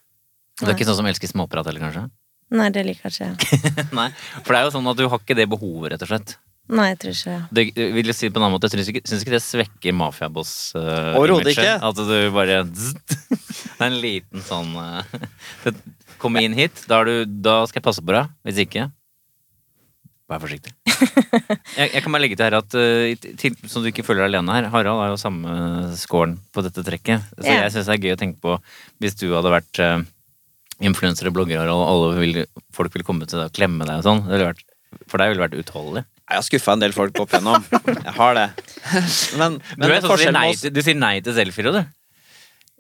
Speaker 3: Du er ikke sånn som elsker småprat heller, kanskje?
Speaker 4: Nei, det liker ikke jeg.
Speaker 3: Nei. For det er jo sånn at du har ikke det behovet, rett og slett.
Speaker 4: Nei, jeg tror ikke det.
Speaker 3: Det, jeg vil si det på en annen måte, Jeg syns ikke, syns ikke det svekker mafiaboss-imaget.
Speaker 2: Overhodet ikke.
Speaker 3: At du bare zzzt. Det er en liten sånn eh, det- Kom inn hit, da, er du, da skal jeg passe på deg. Hvis ikke Vær forsiktig. Jeg, jeg kan bare legge til her at eh, i t- til, Sånn at du ikke føler deg alene her. Harald har jo samme scoren på dette trekket. Så
Speaker 4: Ja.
Speaker 3: jeg syns det er gøy å tenke på hvis du hadde vært eh, influenser og blogger, Harald, og alle vil, folk ville komme til deg og klemme deg og sånn. Det ville vært, for deg ville det vært utholdelig.
Speaker 2: Jeg har skuffa en del folk opp igjennom. Jeg har det. Men,
Speaker 3: Du,
Speaker 2: men
Speaker 3: er sånn som sier
Speaker 2: forskjellen
Speaker 3: nei,
Speaker 2: med oss
Speaker 3: til- du sier nei til selfier, du.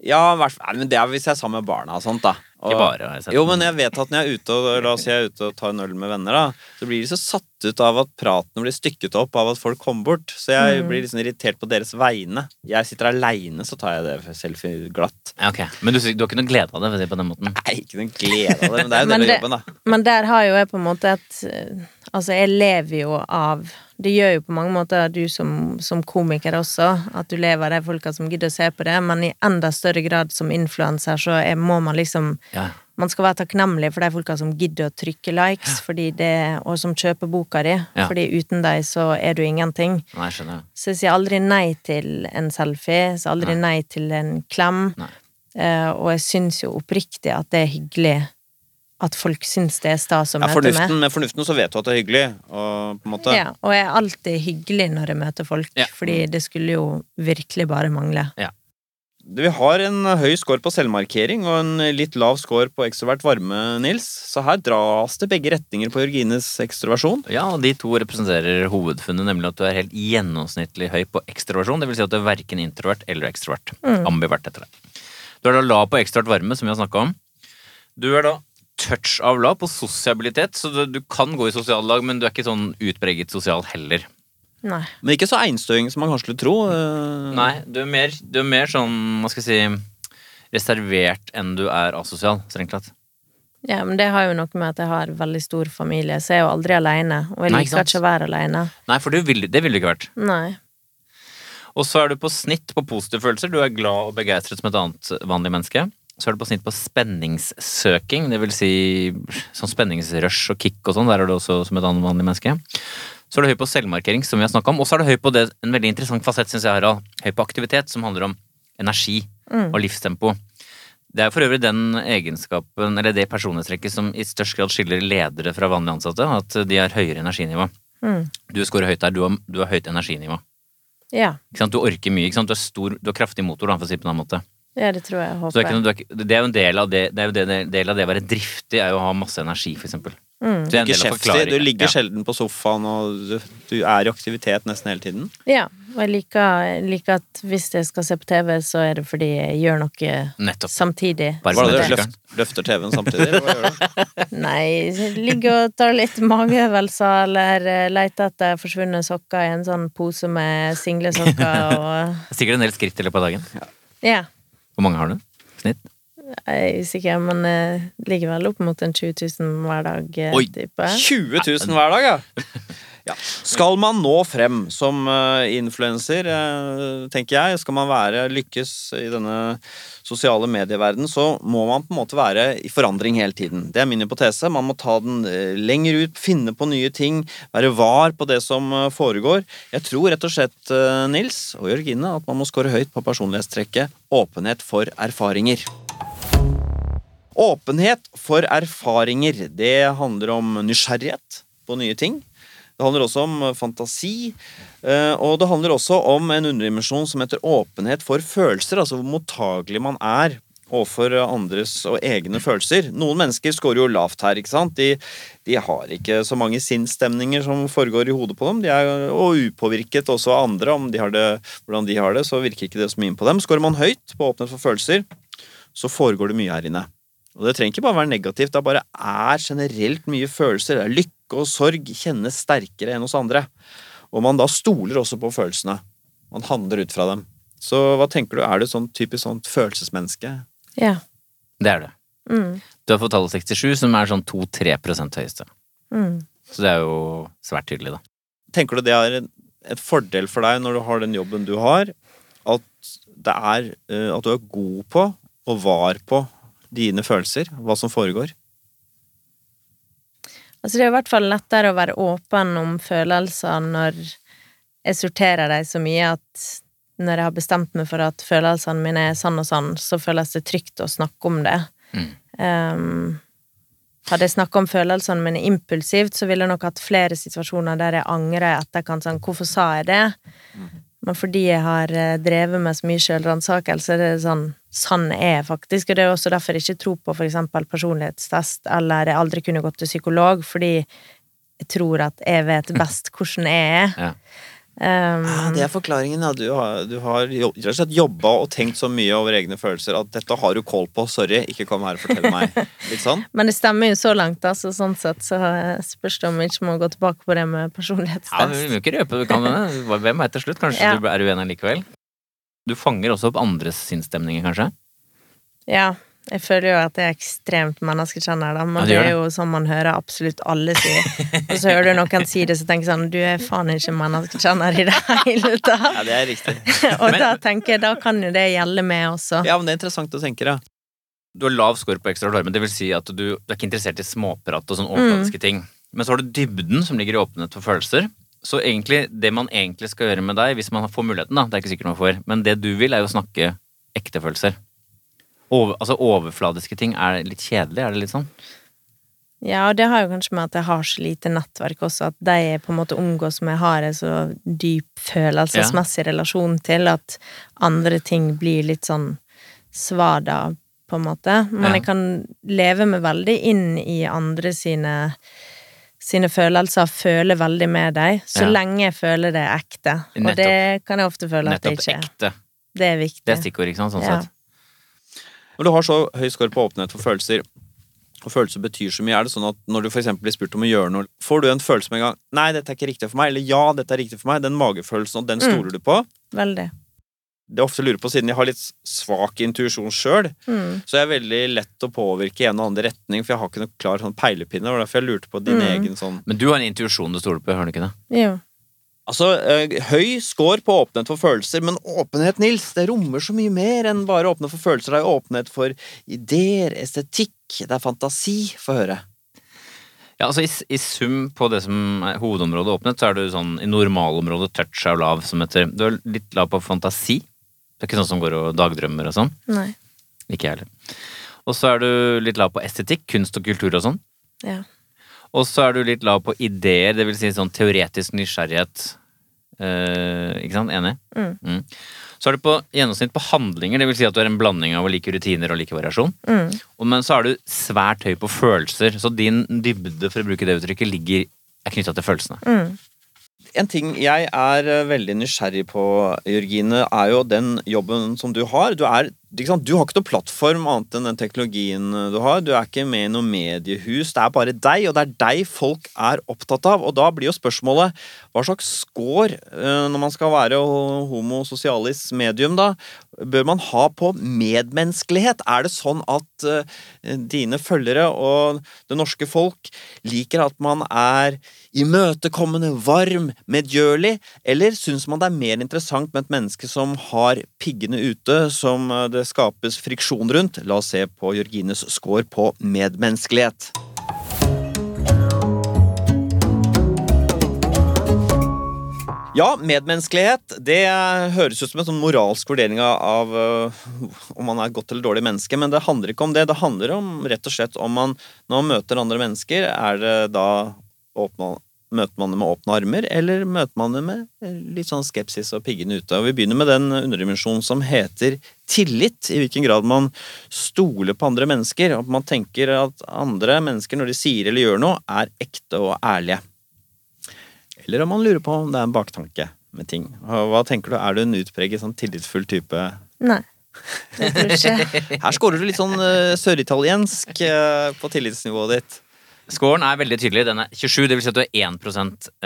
Speaker 2: Ja, i hvert fall- nei, men det er hvis jeg er sammen med barna og sånt, da. Og,
Speaker 3: Ikke bare, har jeg sett.
Speaker 2: Jo, men jeg vet at når jeg er ute og, la oss si jeg er ute og tar en øl med venner, da, så blir de så satt ut av at praten blir stykket opp av at folk kommer bort. Så jeg
Speaker 3: Mm.
Speaker 2: blir liksom irritert på deres vegne. Jeg sitter aleine, så tar jeg det selfie glatt.
Speaker 3: Ja, ok. Men du, sier- du har ikke noe glede av det for å si det på den måten?
Speaker 2: Nei, ikke noen glede av det, men det er jo en
Speaker 4: Men
Speaker 2: del av
Speaker 4: det-
Speaker 2: jobben, da.
Speaker 4: Men der har jo jeg på en måte et eh, Altså, jeg lever jo av Det gjør jo på mange måter du som, som komiker også, at du lever av de folka som gidder å se på det, men i enda større grad som influenser så er, må man liksom
Speaker 3: Ja.
Speaker 4: Man skal være takknemlig for de folka som gidder å trykke likes, fordi det, og som kjøper boka di,
Speaker 3: Ja.
Speaker 4: fordi uten dem så er du ingenting.
Speaker 3: Nei, jeg skjønner.
Speaker 4: Så jeg sier aldri nei til en selfie, jeg sier aldri nei, til en klem.
Speaker 3: Nei.
Speaker 4: Eh, og jeg syns jo oppriktig at det er hyggelig at folk syns det er stas å
Speaker 2: Ja,
Speaker 4: møte meg.
Speaker 2: fornuften, med fornuften så vet du at det er hyggelig, og på en måte
Speaker 4: Ja, og jeg er alltid hyggelig når jeg møter folk,
Speaker 3: altså. Ja.
Speaker 4: fordi det skulle jo virkelig bare mangle.
Speaker 2: Du, Vi har en eh, høy score på selvmarkering og en litt lav score på ekstrovert varme, Nils. Så her dras det begge retninger på Jørgines ekstroversjon.
Speaker 3: Ja, og de to representerer hovedfunnet, nemlig at du er helt gjennomsnittlig høy på ekstroversjon. Det vil si at du er verken introvert eller ekstrovert. Ambivert etter det. Du er da lav på ekstrovert varme, som vi har snakka om. Du er da touch av lav på sosialitet, så du, du kan gå i sosiale lag, men du er ikke sånn utpreget sosial heller.
Speaker 4: Nei.
Speaker 2: Men ikke så einstøing som man kanskje skulle tro. eh,
Speaker 3: Nei, du er mer, du er mer sånn, hva skal jeg si, reservert enn du er asosial, strengt tatt.
Speaker 4: Ja, men det har jo noe med at jeg har veldig stor familie, så jeg er jo aldri aleine. Og jeg
Speaker 3: Nei,
Speaker 4: liker
Speaker 3: ikke sant?
Speaker 4: ikke å være aleine.
Speaker 3: Nei, for du ville, det ville du ikke vært.
Speaker 4: Nei.
Speaker 3: Og så er du på snitt på positive følelser. Du er glad og begeistret som et annet vanlig menneske. Så er du på snitt på spenningssøking, det vil si sånn spenningsrush og kick og sånn. Der er du også som et annet vanlig menneske. Så er du høy på selvmarkering, som vi har snakka om. Og så er du høy på det, en veldig interessant fasett, syns jeg, Harald. Høy på aktivitet, som handler om energi og livstempo. Det er for øvrig den egenskapen, eller det personlighetstrekket som i størst grad skiller ledere fra vanlige ansatte, at de har høyere energinivå.
Speaker 4: Mm.
Speaker 3: Du scorer høyt der, du har, du har høyt energinivå.
Speaker 4: Ja.
Speaker 3: Ikke sant? Du orker mye. Ikke sant? Du, er stor, du har kraftig motor, da, for å si det på en annen måte.
Speaker 4: ja, det tror jeg.
Speaker 3: Så det, er
Speaker 4: Håper
Speaker 3: ikke,
Speaker 4: jeg.
Speaker 3: noe- du er ikke, det er jo en del av det, det, er jo det, det, del av det å være driftig, er jo å ha masse energi, for eksempel.
Speaker 4: Mm.
Speaker 3: Så det er
Speaker 2: Ikke
Speaker 3: en del av
Speaker 2: kjeftig, du
Speaker 3: forklaringen.
Speaker 2: ligger
Speaker 3: ja.
Speaker 2: sjelden på sofaen, og du, du er i aktivitet nesten hele tiden.
Speaker 4: Ja, og jeg liker, jeg liker at hvis jeg skal se på TV, så er det fordi jeg gjør noe
Speaker 3: Nettopp.
Speaker 4: samtidig.
Speaker 3: Bare
Speaker 2: Hva er det
Speaker 3: med
Speaker 2: du
Speaker 3: trykkeren.
Speaker 2: løft, løfter TV-en samtidig? eller Hva gjør du?
Speaker 4: Nei, ligge og ta litt mageøvelser eller eh, lete etter forsvunne sokker i en sånn pose med singlesokker og
Speaker 3: Det er Sikkert en del skritt i løpet av dagen.
Speaker 4: Ja,
Speaker 3: Hvor mange har du? Snitt?
Speaker 4: jeg er usikker, men eh, ligger vel opp mot en 20 000 hver dag, eh,
Speaker 3: Oi.
Speaker 4: type.
Speaker 2: 20 000 hver dag, ja. ja. Skal man nå frem som eh, influenser, eh, tenker jeg, skal man være lykkes i denne sosiale medieverden, så må man på en måte være i forandring hele tiden. Det er min hypotese. Man må ta den eh, lenger ut, finne på nye ting, være var på det som eh, foregår. Jeg tror rett og slett, eh, Nils og Jørgine, at man må score høyt på personlighetstrekket åpenhet for erfaringer. Åpenhet for erfaringer. Det handler om nysgjerrighet på nye ting. Det handler også om fantasi. eh, Og det handler også om en underdimensjon som heter åpenhet for følelser. Altså hvor mottagelig man er overfor andres og egne følelser. Noen mennesker scorer jo lavt her. ikke sant? De, de har ikke så mange sinnsstemninger som foregår i hodet på dem. De er og upåvirket også av andre. Om de har det, hvordan de har det, så virker ikke det så mye inn på dem. Scorer man høyt på åpenhet for følelser, så foregår det mye her inne. Og det trenger ikke bare være negativt, det bare er generelt mye følelser. Det er lykke og sorg kjennes sterkere enn hos andre. Og man da stoler også på følelsene. Man handler ut fra dem. Så hva tenker du, er du sånn typisk sånt følelsesmenneske?
Speaker 4: Ja.
Speaker 3: Det er det.
Speaker 4: Mm.
Speaker 3: Du har fått tallet 67, som er sånn 2-3 prosent høyeste.
Speaker 4: Mm.
Speaker 3: Så det er jo svært tydelig, da.
Speaker 2: Tenker du det er en, et fordel for deg når du har den jobben du har, at det er eh, at du er god på og var på dine følelser, hva som foregår?
Speaker 4: Altså det er i hvert fall lettere å være åpen om følelser når jeg sorterer dem så mye at når jeg har bestemt meg for at følelsene mine er sånn og sånn, så føles det trygt å snakke om det.
Speaker 3: Mm.
Speaker 4: Ehm, Hadde jeg snakka om følelsene mine impulsivt, så ville jeg nok hatt flere situasjoner der jeg angrer i etterkant. Sånn, hvorfor sa jeg det? Men fordi jeg har eh, drevet med så mye sjølransakelse, det er sånn Sånn er jeg faktisk. Og det er også derfor jeg ikke tror på for eksempel personlighetstest, eller jeg aldri kunne gått til psykolog, fordi jeg tror at jeg vet best hvordan jeg er.
Speaker 3: Ja.
Speaker 4: Um,
Speaker 2: Ja, Ah, det er forklaringen. Ja. Du har, du har jo- rett og slett jobba og tenkt så mye over egne følelser at dette har du kål på, sorry, ikke kom her og fortell meg. Litt sånn?
Speaker 4: Men det stemmer jo så langt, da, så sånn sett så spørs det om vi ikke må gå tilbake på det med
Speaker 3: Ja, vi
Speaker 4: personlighetstest.
Speaker 3: må ikke røpe det. Kan hende. Hva- Hvem veit til slutt? Kanskje
Speaker 4: Ja.
Speaker 3: du er uenig likevel? Du fanger også opp andres sinnsstemninger, kanskje?
Speaker 4: Ja, jeg føler jo at jeg er ekstremt menneskekjenner, da, men
Speaker 3: Ja, du
Speaker 4: det
Speaker 3: gjør
Speaker 4: er jo sånn man hører absolutt alle si. Og så hører du noen si det, så tenker jeg sånn Du er faen ikke menneskekjenner i det
Speaker 2: Ja,
Speaker 4: hele tatt.
Speaker 2: det er riktig.
Speaker 4: Og da tenker jeg, da kan jo det gjelde meg også.
Speaker 2: Ja, men det er interessant å tenke, ja.
Speaker 3: Du har lav score på ekstra larme, det vil si at du, du er ikke interessert i småprat og sånne overflatiske ting. Men så har du dybden som ligger i åpenhet for følelser. Så egentlig, det man egentlig skal gjøre med deg, hvis man får muligheten, da, det er ikke sikkert man får, men det du vil, er jo å snakke ekte følelser. Over, altså overfladiske ting er litt kjedelig, er det litt sånn?
Speaker 4: Ja, og det har jo kanskje med at jeg har så lite nettverk også, at de jeg på en måte omgås med, har en så dyp følelsesmessig relasjon til at andre ting blir litt sånn svada, på en måte. Men
Speaker 3: Ja.
Speaker 4: jeg kan leve meg veldig inn i andre sine sine følelser, føle veldig med dem, så
Speaker 3: Ja.
Speaker 4: lenge jeg føler det er ekte. Og
Speaker 3: Nettopp.
Speaker 4: det kan jeg ofte føle at det
Speaker 3: Nettopp
Speaker 4: ikke er.
Speaker 3: ekte.
Speaker 4: Det er viktig.
Speaker 3: Det er stikkord, ikke sant? Sånn
Speaker 4: Ja.
Speaker 3: sett.
Speaker 2: Når du har så høy score på åpenhet for følelser, og følelser betyr så mye, er det sånn at når du for eksempel blir spurt om å gjøre noe, får du en følelse med en gang 'nei, dette er ikke riktig for meg', eller 'ja, dette er riktig for meg', den magefølelsen, og den stoler du på.
Speaker 4: Veldig.
Speaker 2: Det er ofte lurer på, siden jeg har litt svak intuisjon sjøl,
Speaker 4: Mm.
Speaker 2: så jeg er veldig lett å påvirke i en og annen retning, for jeg har ikke noe klar sånn peilepinne. Det var derfor jeg lurte på din
Speaker 4: Mm.
Speaker 2: egen sånn
Speaker 3: Men du har en intuisjon du stoler på, har du ikke det?
Speaker 4: Jo.
Speaker 2: Altså, eh, høy score på åpenhet for følelser, men åpenhet, Nils, det rommer så mye mer enn bare åpenhet for følelser. Det er jo åpenhet for ideer, estetikk, det er fantasi, få høre.
Speaker 3: Ja, altså i, s- I sum på det som er hovedområdet åpnet, så er du sånn i normalområdet touch av lav som heter Du er litt lav på fantasi. Det er ikke sånn som går og dagdrømmer og sånn.
Speaker 4: Nei.
Speaker 3: Ikke jeg heller. Og så er du litt lav på estetikk, kunst og kultur og sånn.
Speaker 4: Ja.
Speaker 3: Og så er du litt lav på ideer, det vil si sånn teoretisk nysgjerrighet. Eh, ikke sant? Enig?
Speaker 4: Mm.
Speaker 3: Så er du på gjennomsnitt på handlinger, det vil si at du er en blanding av å like rutiner og like variasjon.
Speaker 4: Mm.
Speaker 3: Og- Men så er du svært høy på følelser, så din dybde, for å bruke det uttrykket, ligger, er knytta til følelsene.
Speaker 4: Mm.
Speaker 2: En ting jeg er eh, veldig nysgjerrig på, Jørgine, er jo den jobben som du har. Du, er, ikke sant? du har ikke noen plattform annet enn den teknologien eh, du har. Du er ikke med i noe mediehus. Det er bare deg, og det er deg folk er opptatt av. Og da blir jo spørsmålet hva slags score eh, når man skal være ho- homo sosialis medium, da, bør man ha på medmenneskelighet? Er det sånn at eh, dine følgere og det norske folk liker at man er imøtekommende, varm, medgjørlig, eller syns man det er mer interessant med et menneske som har piggene ute, som eh, det skapes friksjon rundt? La oss se på Jørgines score på medmenneskelighet. Ja, medmenneskelighet. Det høres ut som en sånn moralsk vurdering av- av øh, om man er et godt eller dårlig menneske, men det handler ikke om det. Det handler om rett og slett om man når man møter andre mennesker, er det da åpna, Møter man det med åpne armer, eller møter man det med eh, litt sånn skepsis og piggene ute? Og Vi begynner med den underdimensjonen som heter tillit. I hvilken grad man stoler på andre mennesker. og At man tenker at andre mennesker, når de sier eller gjør noe, er ekte og ærlige. Eller om man lurer på om det er en baktanke med ting. Hva hva tenker du, Er du en utpreget sånn tillitsfull type?
Speaker 4: Nei. Jeg tror ikke
Speaker 2: Her scorer du litt sånn eh, søritaliensk eh, på tillitsnivået ditt.
Speaker 3: Scoren er veldig tydelig. Den er 27, det vil si at du er 1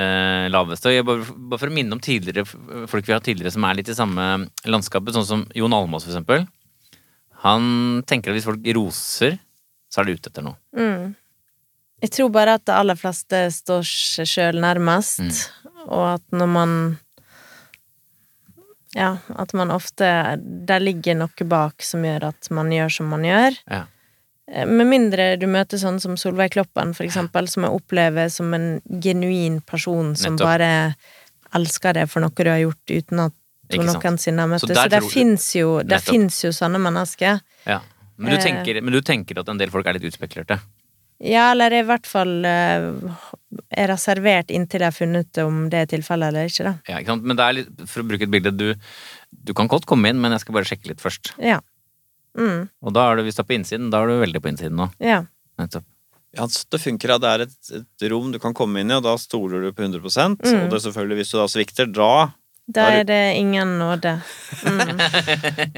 Speaker 3: eh, laveste. Og jeg bare, bare for å minne om tidligere f- folk vi har hatt tidligere som er litt i samme landskapet, sånn som Jon Almaas for eksempel. Han tenker at hvis folk roser, så er de ute etter noe.
Speaker 4: Mm. Jeg tror bare at de aller fleste står seg sjøl nærmest,
Speaker 3: Mm.
Speaker 4: og at når man Ja, at man ofte Der ligger noe bak som gjør at man gjør som man gjør.
Speaker 3: Ja.
Speaker 4: Eh, Med mindre du møter sånne som Solveig Kloppen, for eksempel, som jeg opplever som en genuin person som
Speaker 3: Nettopp.
Speaker 4: bare elsker deg for noe du har gjort uten at
Speaker 3: Ikke
Speaker 4: hun
Speaker 3: sant.
Speaker 4: noensinne har møtt
Speaker 3: Så
Speaker 4: deg.
Speaker 3: der
Speaker 4: Så der
Speaker 3: tror du-
Speaker 4: fins jo, der
Speaker 3: Nettopp.
Speaker 4: finnes jo sånne mennesker.
Speaker 3: Ja. Men, du
Speaker 4: Eh.
Speaker 3: tenker, men du tenker at en del folk er litt utspekulerte.
Speaker 4: Ja, eller i hvert fall eh, er reservert inntil jeg har funnet om det er tilfellet eller ikke, da.
Speaker 3: Ja, ikke sant? Men det er litt, for å bruke et bilde du, du kan godt komme inn, men jeg skal bare sjekke litt først.
Speaker 4: Ja. Mm,
Speaker 3: Og da er du, hvis du er på innsiden, da er du veldig på innsiden nå.
Speaker 4: ja.
Speaker 3: Nettopp.
Speaker 2: Ja, så det funker at det er et, et rom du kan komme inn i, og da stoler du på 100 Og det er selvfølgelig, hvis du da svikter, da
Speaker 4: Da
Speaker 2: Da er
Speaker 4: er det ingen nåde. Mm.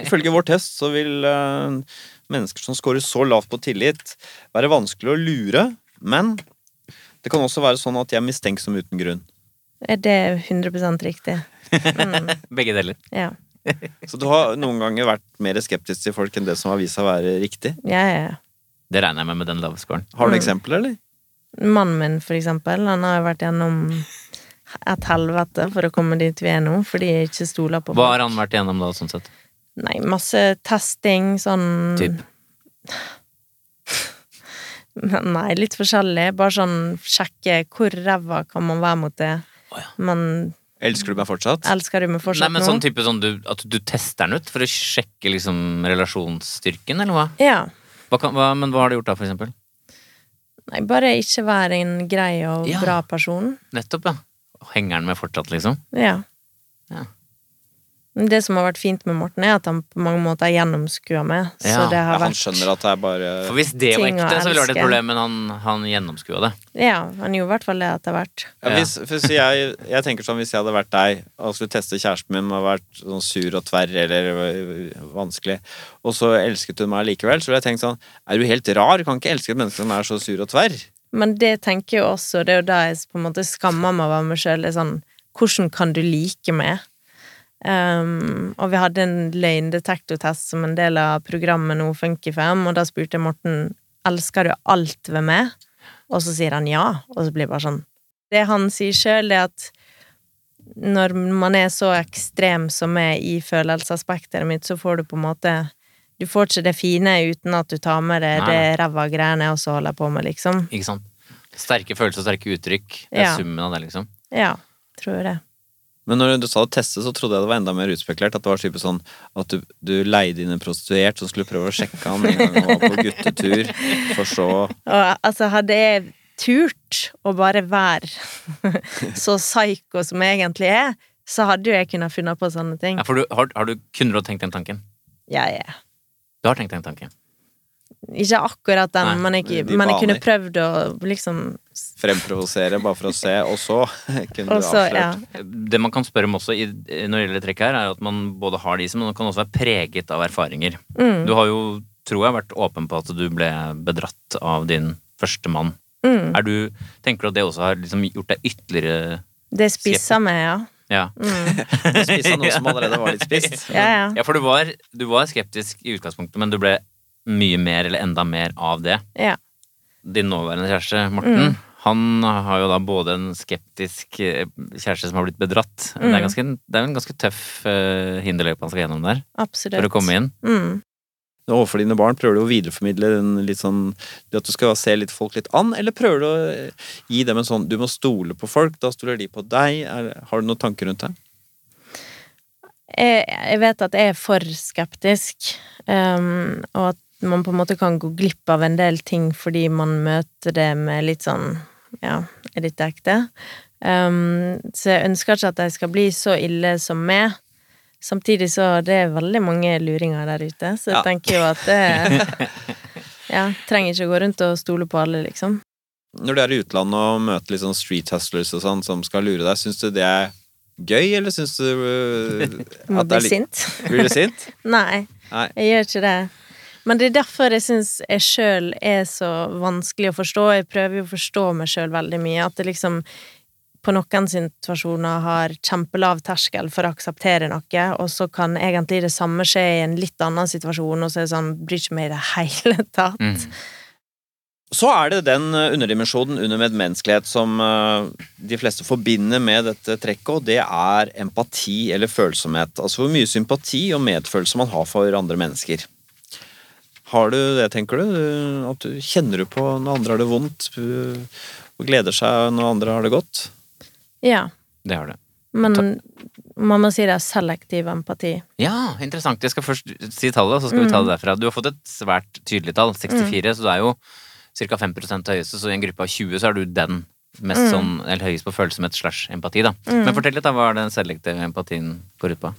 Speaker 2: Ifølge vår test så vil eh, mennesker som scorer så lavt på tillit, være vanskelig å lure, men det kan også være sånn at de er mistenksomme uten grunn.
Speaker 4: Er det 100 riktig? Mm,
Speaker 3: Begge deler.
Speaker 4: ja.
Speaker 2: Så du har noen ganger vært mer skeptisk til folk enn det som har vist seg å være riktig.
Speaker 4: Ja, ja, ja.
Speaker 3: Det regner jeg med med den lave scoren.
Speaker 2: Har du
Speaker 4: Mm.
Speaker 2: eksempler, eller?
Speaker 4: Mannen min, for eksempel, han har jo vært gjennom et helvete for å komme dit vi er nå, fordi jeg ikke stoler på
Speaker 3: Hva har han vært igjennom da, sånn sett?
Speaker 4: Nei, masse testing, sånn
Speaker 3: Typ.
Speaker 4: Nei, litt forskjellig. Bare sånn sjekke hvor ræva kan man være mot det.
Speaker 3: Å, ja.
Speaker 4: Men
Speaker 2: Elsker du meg fortsatt?
Speaker 4: elsker du meg fortsatt
Speaker 3: Nei, men
Speaker 4: nå?
Speaker 3: sånn type sånn du, at du tester den ut for å sjekke liksom relasjonsstyrken, eller hva?
Speaker 4: Ja.
Speaker 3: hva, kan, hva men hva har du gjort da, for eksempel?
Speaker 4: Nei, bare ikke være en grei og
Speaker 3: Ja.
Speaker 4: bra person.
Speaker 3: Nettopp, ja. Henger den med fortsatt, liksom?
Speaker 4: Ja.
Speaker 3: Ja.
Speaker 4: Men Det som har vært fint med Morten, er at han på mange måter har gjennomskua meg. Så
Speaker 3: Ja,
Speaker 4: det
Speaker 2: Ja,
Speaker 4: har
Speaker 2: han
Speaker 4: vært
Speaker 2: skjønner at det er bare
Speaker 3: For hvis det var
Speaker 4: Ting å
Speaker 3: ekte, så ville det vært et
Speaker 4: elske.
Speaker 3: problem, men han, han gjennomskua det.
Speaker 4: Ja, han gjorde i hvert fall det at det har vært
Speaker 2: ja, hvis, hvis jeg, jeg tenker sånn, hvis jeg hadde vært deg og skulle teste kjæresten min og vært sånn sur og tverr eller øh, vanskelig, og så elsket hun meg likevel, så ville jeg tenkt sånn Er du helt rar? Du kan ikke elske et menneske som er så sur og tverr.
Speaker 4: Men det tenker jeg også, det er jo da jeg på en måte skammer meg over meg sjøl. Sånn, hvordan kan du like meg? Um, og vi hadde en løgndetektortest som en del av programmet nå Funkyfem, og da spurte jeg Morten elsker du alt ved meg, og så sier han ja. Og så blir det bare sånn. Det han sier sjøl, er at når man er så ekstrem som jeg i følelsesaspektet mitt, så får du på en måte Du får ikke det fine uten at du tar med deg
Speaker 3: Nei,
Speaker 4: det
Speaker 3: nei.
Speaker 4: ræva greiene jeg også holder på med, liksom.
Speaker 3: Ikke sant? Sterke følelser og sterke uttrykk. Det er
Speaker 4: Ja.
Speaker 3: summen av det, liksom.
Speaker 4: Ja, tror det.
Speaker 2: Men når du sa det teste, så trodde jeg det var enda mer utspekulert. At det var type sånn at du, du leide inn en prostituert som skulle prøve å sjekke han en gang han var på guttetur, for så
Speaker 4: Og altså, hadde jeg turt å bare være så psyko som jeg egentlig er, så hadde jo jeg kunnet finne på sånne ting.
Speaker 3: Ja, for du, har, har du, kunne du ha tenkt den tanken?
Speaker 4: Ja, ja.
Speaker 3: Du har tenkt den tanken.
Speaker 4: Ikke akkurat den,
Speaker 3: Nei,
Speaker 4: men jeg,
Speaker 2: de
Speaker 4: men jeg kunne
Speaker 2: vaner.
Speaker 4: prøvd å liksom
Speaker 2: fremprovosere bare for å se, og så kunne
Speaker 4: Og
Speaker 2: du
Speaker 4: så, ja.
Speaker 2: avslørt.
Speaker 3: Det man kan spørre om også i, når det gjelder trekk her, er jo at man både har disse, men man kan også være preget av erfaringer.
Speaker 4: Mm,
Speaker 3: Du har jo, tror jeg, vært åpen på at du ble bedratt av din første mann.
Speaker 4: mm.
Speaker 3: Er du, tenker du at det også har liksom gjort deg ytterligere
Speaker 4: Det spisser meg, ja.
Speaker 3: ja.
Speaker 4: Mm.
Speaker 2: Du spiste noe som allerede var litt spist.
Speaker 4: Ja, ja.
Speaker 3: ja, for du var, du var skeptisk i utgangspunktet, men du ble mye mer eller enda mer av det.
Speaker 4: ja.
Speaker 3: Din nåværende kjæreste,
Speaker 4: Mm.
Speaker 3: Morten, han har jo da både en skeptisk eh, kjæreste som har blitt bedratt. Det, er
Speaker 4: Mm.
Speaker 3: ganske, det er en ganske tøff eh, hinderløype han skal gjennom der
Speaker 4: Absolutt.
Speaker 3: for å komme inn.
Speaker 4: Mm.
Speaker 2: Overfor dine barn prøver du å videreformidle den litt sånn det At du skal se litt folk litt an, eller prøver du å eh, gi dem en sånn Du må stole på folk, da stoler de på deg. Er, har du noen tanker rundt det?
Speaker 4: jeg, jeg vet at jeg er for skeptisk, ehm, og at man på en måte kan gå glipp av en del ting fordi man møter det med litt sånn Ja, er dette ekte? Ehm, så jeg ønsker ikke at de skal bli så ille som meg. Samtidig så det er veldig mange luringer der ute, så jeg
Speaker 2: Ja.
Speaker 4: tenker jo at det Ja, trenger ikke å gå rundt og stole på alle, liksom.
Speaker 2: Når du er i utlandet og møter litt sånn street hustlers og sånn som skal lure deg, syns du det er gøy, eller syns du eh,
Speaker 4: Må
Speaker 2: at det
Speaker 4: bli
Speaker 2: er litt
Speaker 4: sint.
Speaker 2: Blir du sint?
Speaker 4: Nei,
Speaker 2: Nei.
Speaker 4: jeg gjør ikke det. Men det er derfor jeg syns jeg sjøl er så vanskelig å forstå. Jeg prøver jo å forstå meg sjøl veldig mye. At det liksom på noen situasjoner har kjempelav terskel for å akseptere noe, og så kan egentlig det samme skje i en litt annen situasjon, og så er det sånn Bryr ikke meg i det hele tatt.
Speaker 3: Mm.
Speaker 2: Så er det den eh, underdimensjonen under medmenneskelighet som eh, de fleste forbinder med dette trekket, og det er empati eller følsomhet. Altså hvor mye sympati og medfølelse man har for andre mennesker. Har du det, tenker du? Du- At du kjenner du på når andre har det vondt, eh, og gleder seg når andre har det godt?
Speaker 4: Ja.
Speaker 3: Det har du.
Speaker 4: Men mamma sier det er selektiv empati.
Speaker 3: Ja, interessant.
Speaker 4: Mm.
Speaker 3: Jeg skal først si tallet, og så skal vi ta det derfra. Du har fått et svært tydelig tall, 64, så du er jo ca. 5 høyeste, så i en gruppe av 20 så er du den mest
Speaker 4: Mm.
Speaker 3: sånn, eller høyest på følsomhet slash empati. da. Men fortell litt, da, hva er den selektive empatien går ut på?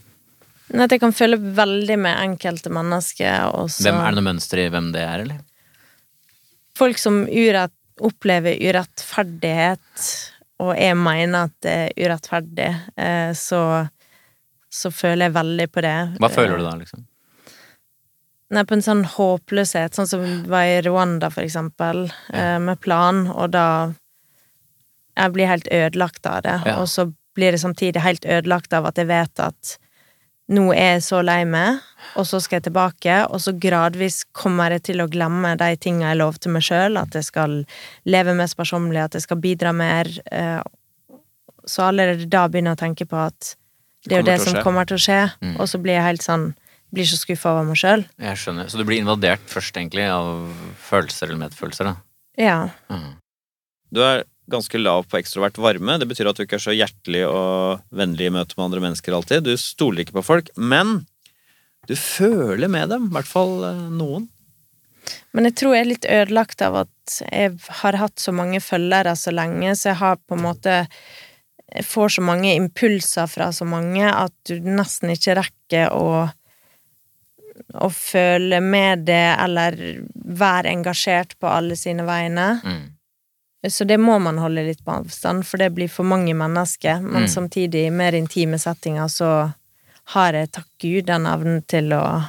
Speaker 4: Men At jeg kan føle veldig med enkelte mennesker. Og så
Speaker 3: Hvem Er det noe mønster i hvem det er, eller?
Speaker 4: Folk som urett, opplever urettferdighet, og jeg mener at det er urettferdig, eh, så, så føler jeg veldig på det.
Speaker 3: Hva føler du da, liksom?
Speaker 4: Nei, på en sånn håpløshet, sånn som det var i Rwanda, for eksempel, eh, med plan, og da Jeg blir helt ødelagt av det,
Speaker 3: Ja.
Speaker 4: og så blir jeg samtidig helt ødelagt av at jeg vet at nå er jeg så lei meg, og så skal jeg tilbake, og så gradvis kommer jeg til å glemme de tinga jeg lovte meg sjøl, at jeg skal leve mer sparsommelig, at jeg skal bidra mer. eh, Så allerede da begynner jeg å tenke på at det er jo
Speaker 2: Kommer til
Speaker 4: det
Speaker 2: å
Speaker 4: som
Speaker 2: skje. Mm.
Speaker 4: kommer til å skje, og så blir jeg helt sånn Blir så skuffa over meg sjøl.
Speaker 3: Jeg skjønner. Så du blir invadert først, egentlig, av følelser eller medfølelser, da?
Speaker 4: Ja.
Speaker 3: Mm.
Speaker 2: Du er ganske lav på ekstrovert varme. Det betyr at du ikke er så hjertelig og vennlig i møte med andre mennesker alltid. Du stoler ikke på folk, men du føler med dem. I hvert fall eh, noen.
Speaker 4: Men jeg tror jeg er litt ødelagt av at jeg har hatt så mange følgere så lenge, så jeg har på en måte Jeg får så mange impulser fra så mange at du nesten ikke rekker å å føle med det, eller være engasjert på alle sine vegne.
Speaker 3: Mm.
Speaker 4: Så det må man holde litt på avstand, for det blir for mange mennesker. Men
Speaker 3: Mm.
Speaker 4: samtidig, i mer intime settinger, så har jeg, takk Gud, den evnen til å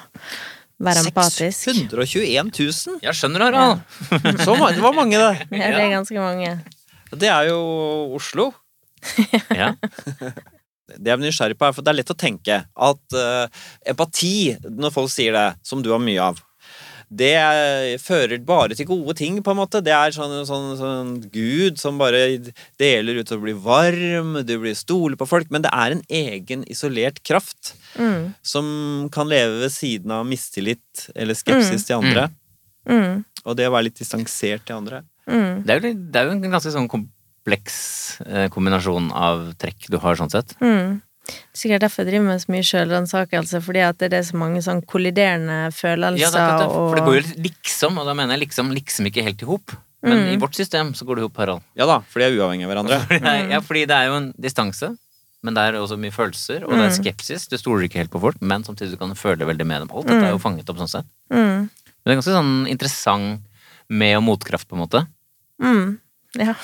Speaker 4: være empatisk.
Speaker 2: 621 000!
Speaker 3: Jeg skjønner, Harald!
Speaker 2: Så mange, det var mange, det.
Speaker 4: Ja, det er ganske mange.
Speaker 2: Det er jo Oslo.
Speaker 3: Ja.
Speaker 2: det jeg blir nysgjerrig på, er for det er lett å tenke at eh, empati, når folk sier det, som du har mye av, det eh, fører bare til gode ting, på en måte. Det er sånn, sånn, sånn gud som bare deler ut og blir varm, du blir stoler på folk. Men det er en egen isolert kraft
Speaker 4: Mm.
Speaker 2: som kan leve ved siden av mistillit eller skepsis til andre.
Speaker 4: Mm.
Speaker 2: Og det å være litt distansert til andre.
Speaker 4: Mm.
Speaker 3: Det er, jo, litt- det er jo en ganske sånn kompleks eh, kombinasjon av trekk du har, sånn sett.
Speaker 4: Mm. Sikkert derfor jeg driver med så mye sjølransakelse, fordi at det er så mange sånn kolliderende følelser
Speaker 3: Ja, det er akkurat det. For det går
Speaker 4: og
Speaker 3: jo litt liksom, og da mener jeg liksom, liksom ikke helt i hop. Men i vårt system så går det i hop, Harald.
Speaker 2: Ja da, for de er uavhengig av hverandre.
Speaker 3: Ja, fordi det er jo en distanse, men det er også mye følelser, og det er skepsis. Du stoler ikke helt på folk, men samtidig kan du føle veldig med dem. Alt dette er jo fanget opp sånn sett.
Speaker 4: mm.
Speaker 3: Men det er ganske sånn interessant med og motkraft, på en måte.
Speaker 4: Mm. Ja.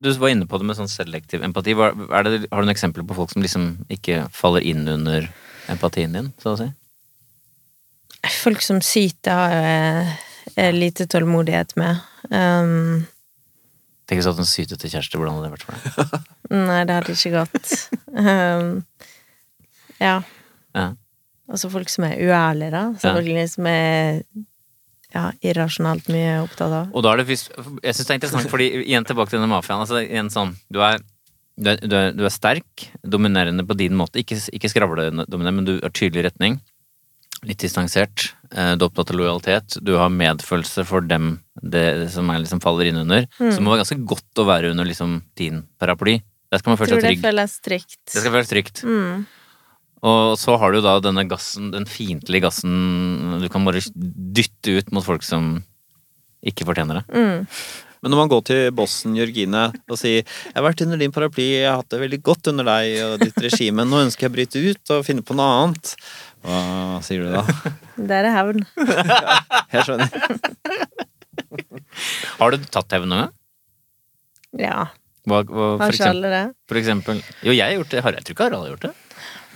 Speaker 3: Du var inne på det med sånn selektiv empati. Hva- Er det, har du noen eksempler på folk som liksom ikke faller inn under empatien din, så å si?
Speaker 4: Folk som syter, har jeg eh, lite tålmodighet med. Um,
Speaker 3: Tenk hvis du hadde en sytete kjæreste, hvordan hadde det vært for deg?
Speaker 4: nei, det hadde ikke gått. um, ja.
Speaker 3: Ja.
Speaker 4: Altså folk som er uærlige, da. Selvfølgelig. Som er ja, irrasjonelt mye opptatt av.
Speaker 3: Og da er det hvis, Jeg syns det er interessant, fordi igjen tilbake til denne mafiaen. Altså, igjen sånn, du er, du, er, du, er, du er sterk, dominerende på din måte. Ikke, ikke skravledominerende, men du er tydelig i retning. Litt distansert. eh, Du er opptatt av lojalitet. Du har medfølelse for dem det som er, liksom, faller inn under.
Speaker 4: Mm.
Speaker 3: Så det må være ganske godt å være under liksom, din paraply. Der skal man føle
Speaker 4: Tror
Speaker 3: seg
Speaker 4: det
Speaker 3: trygg.
Speaker 4: føles trygt.
Speaker 3: Det skal føles trygt.
Speaker 4: Mm.
Speaker 3: Og så har du da denne gassen, den fiendtlige gassen du kan bare dytte ut mot folk som ikke fortjener det.
Speaker 2: Men når man går til bossen Jørgine og sier 'Jeg har vært under din paraply, jeg har hatt det veldig godt under deg og ditt regime, nå ønsker jeg å bryte ut og finne på noe annet', hva sier du da?
Speaker 4: Der er hevn.
Speaker 2: Jeg skjønner.
Speaker 3: Har du tatt hevn noen gang?
Speaker 4: Ja.
Speaker 3: Hva, hva, for,
Speaker 4: Har ikke
Speaker 3: eksempel,
Speaker 4: alle det?
Speaker 3: for eksempel Jo, jeg har gjort det. Har- Jeg tror ikke Harald har gjort det.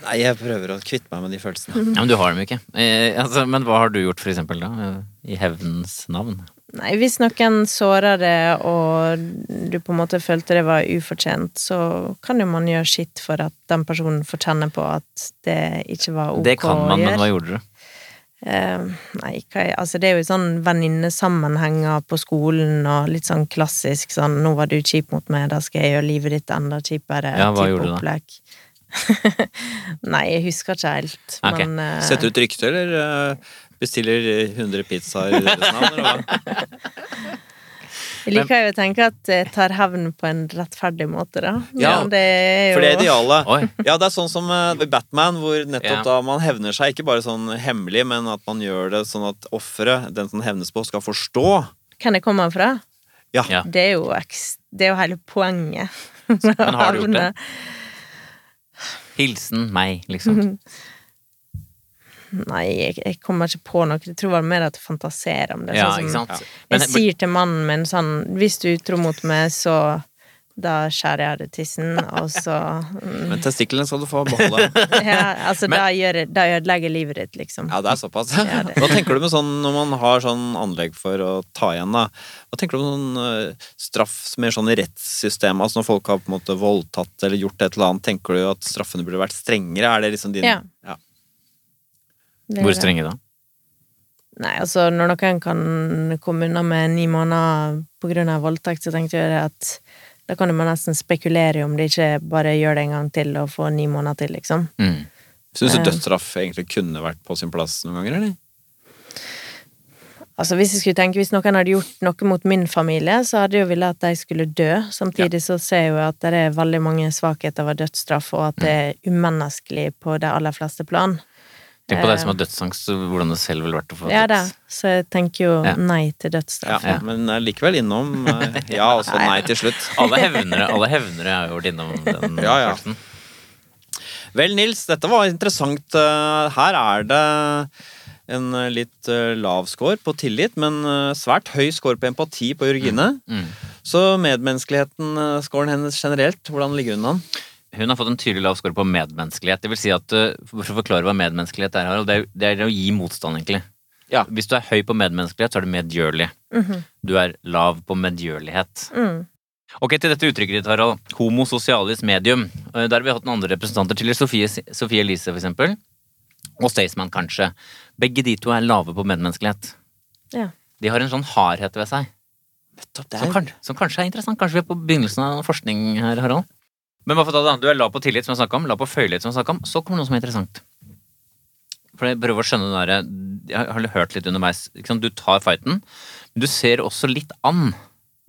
Speaker 2: Nei, jeg prøver å kvitte meg med de følelsene.
Speaker 4: Mm.
Speaker 3: Ja, men du har dem ikke. Eh, altså, men hva har du gjort, for eksempel, da? eh, I hevnens navn?
Speaker 4: Nei, hvis noen sårer det, og du på en måte følte det var ufortjent, så kan jo man gjøre sitt for at den personen får kjenne på at det ikke var ok
Speaker 3: det kan
Speaker 4: å
Speaker 3: man, men hva
Speaker 4: gjøre.
Speaker 3: gjorde du?
Speaker 4: Eh, nei, hva, er- altså det er jo sånn venninnesammenhenger på skolen, og litt sånn klassisk sånn 'nå var du kjip mot meg, da skal jeg gjøre livet ditt enda kjipere'.
Speaker 3: Ja, hva
Speaker 4: type
Speaker 3: gjorde du da?
Speaker 4: opplegg. nei, jeg husker ikke helt,
Speaker 3: Ok.
Speaker 4: men eh,
Speaker 2: Setter ut rykte, eller eh, bestiller 100 pizzaer i deres navn? Eller hva?
Speaker 4: Jeg liker jo å tenke at jeg tar hevn på en rettferdig måte, da.
Speaker 2: Ja,
Speaker 4: Men det er jo
Speaker 2: For det er idealet.
Speaker 3: Oi.
Speaker 2: Ja, det er sånn som eh, Batman, hvor
Speaker 3: Ja.
Speaker 2: nettopp da man hevner seg, ikke bare sånn hemmelig, men at man gjør det sånn at offeret, den som hevnes på, skal forstå
Speaker 4: Kan jeg komme fra?
Speaker 2: Ja.
Speaker 3: Ja.
Speaker 4: Det er jo, eks- det er jo hele poenget.
Speaker 3: Men har du gjort det? Hilsen meg, liksom.
Speaker 4: Mhm. Nei, jeg, jeg kommer ikke på noe. Jeg tror det var mer at jeg fantaserer om det.
Speaker 3: Ja,
Speaker 4: sånn
Speaker 3: ikke
Speaker 4: som,
Speaker 3: sant?
Speaker 4: jeg
Speaker 3: Men,
Speaker 4: sier til mannen min sånn Hvis du er utro mot meg, så da skjærer jeg av deg tissen, og så mm,
Speaker 2: Men testiklene skal du få beholde.
Speaker 4: ja, Altså,
Speaker 3: Men-
Speaker 4: da, gjør, jeg- da ødelegger livet ditt, liksom.
Speaker 2: Ja, det er såpass.
Speaker 4: Ja, det-
Speaker 2: Hva tenker du med sånn når man har sånn anlegg for å ta igjen, da? Hva tenker du om sånn eh, straff mer sånn i rettssystemet? Altså når folk har på en måte voldtatt eller gjort et eller annet, tenker du at straffene burde vært strengere? Er det liksom din
Speaker 4: Ja. Det er
Speaker 3: hvor
Speaker 4: det.
Speaker 3: strenge da?
Speaker 4: Nei, altså når noen kan komme unna med ni måneder på grunn av voldtekt, så tenkte jeg at da kan man nesten spekulere i om de ikke bare gjør det en gang til og får ni måneder til, liksom.
Speaker 3: Mm.
Speaker 2: Syns
Speaker 4: Eh.
Speaker 2: du dødsstraff egentlig kunne vært på sin plass noen ganger, eller?
Speaker 4: Altså Hvis jeg skulle tenke, hvis noen hadde gjort noe mot min familie, så hadde jeg jo villet at de skulle dø. Samtidig så ser jeg jo at det er veldig mange svakheter ved dødsstraff, og at det
Speaker 3: Mm.
Speaker 4: er umenneskelig på de aller fleste plan.
Speaker 3: Tenk på deg som har dødsangst, så hvordan det selv ville vært å få
Speaker 4: Eh. Ja da,
Speaker 3: døds-
Speaker 4: så jeg tenker jo
Speaker 3: Ja.
Speaker 4: nei til dødsstraff.
Speaker 2: Ja, men eh, likevel innom eh, ja, og så nei til slutt.
Speaker 3: Alle hevnere, alle hevnere har jo vært innom den
Speaker 2: Ja, ja.
Speaker 3: følelsen.
Speaker 2: Vel, Nils, dette var interessant. Eh, Her er det en eh, litt eh, lav score på tillit, men eh, svært høy score på empati på Jørgine.
Speaker 3: Mm.
Speaker 2: Så medmenneskeligheten, eh, scoren hennes generelt, hvordan ligger hun an?
Speaker 3: Hun har fått en tydelig lav score på medmenneskelighet. Det vil si at, uh, For å forklare hva medmenneskelighet er, Harald, det er, jo- det er å gi motstand, egentlig.
Speaker 2: Ja.
Speaker 3: Hvis du er høy på medmenneskelighet, så er du medgjørlig.
Speaker 4: Mhm.
Speaker 3: Du er lav på medgjørlighet.
Speaker 4: Mm.
Speaker 3: Ok, til dette uttrykket ditt, Harald. Homo socialis medium. Uh, Der har vi hatt noen andre representanter til. Sofie, Sofie Elise, for eksempel. Og Staysman, kanskje. Begge de to er lave på medmenneskelighet.
Speaker 4: Ja.
Speaker 3: De har en sånn hardhet ved seg. Som, kan, som kanskje er interessant. Kanskje vi er på begynnelsen av forskning her, Harald. Men bare for å ta det, da. du er lav på tillit, som jeg snakka om, lav på føyelighet, som jeg snakka om. Så kommer noe som er interessant. For jeg prøver å skjønne det derre Jeg har hørt litt underveis. Ikke sant? Du tar fighten, men du ser også litt an.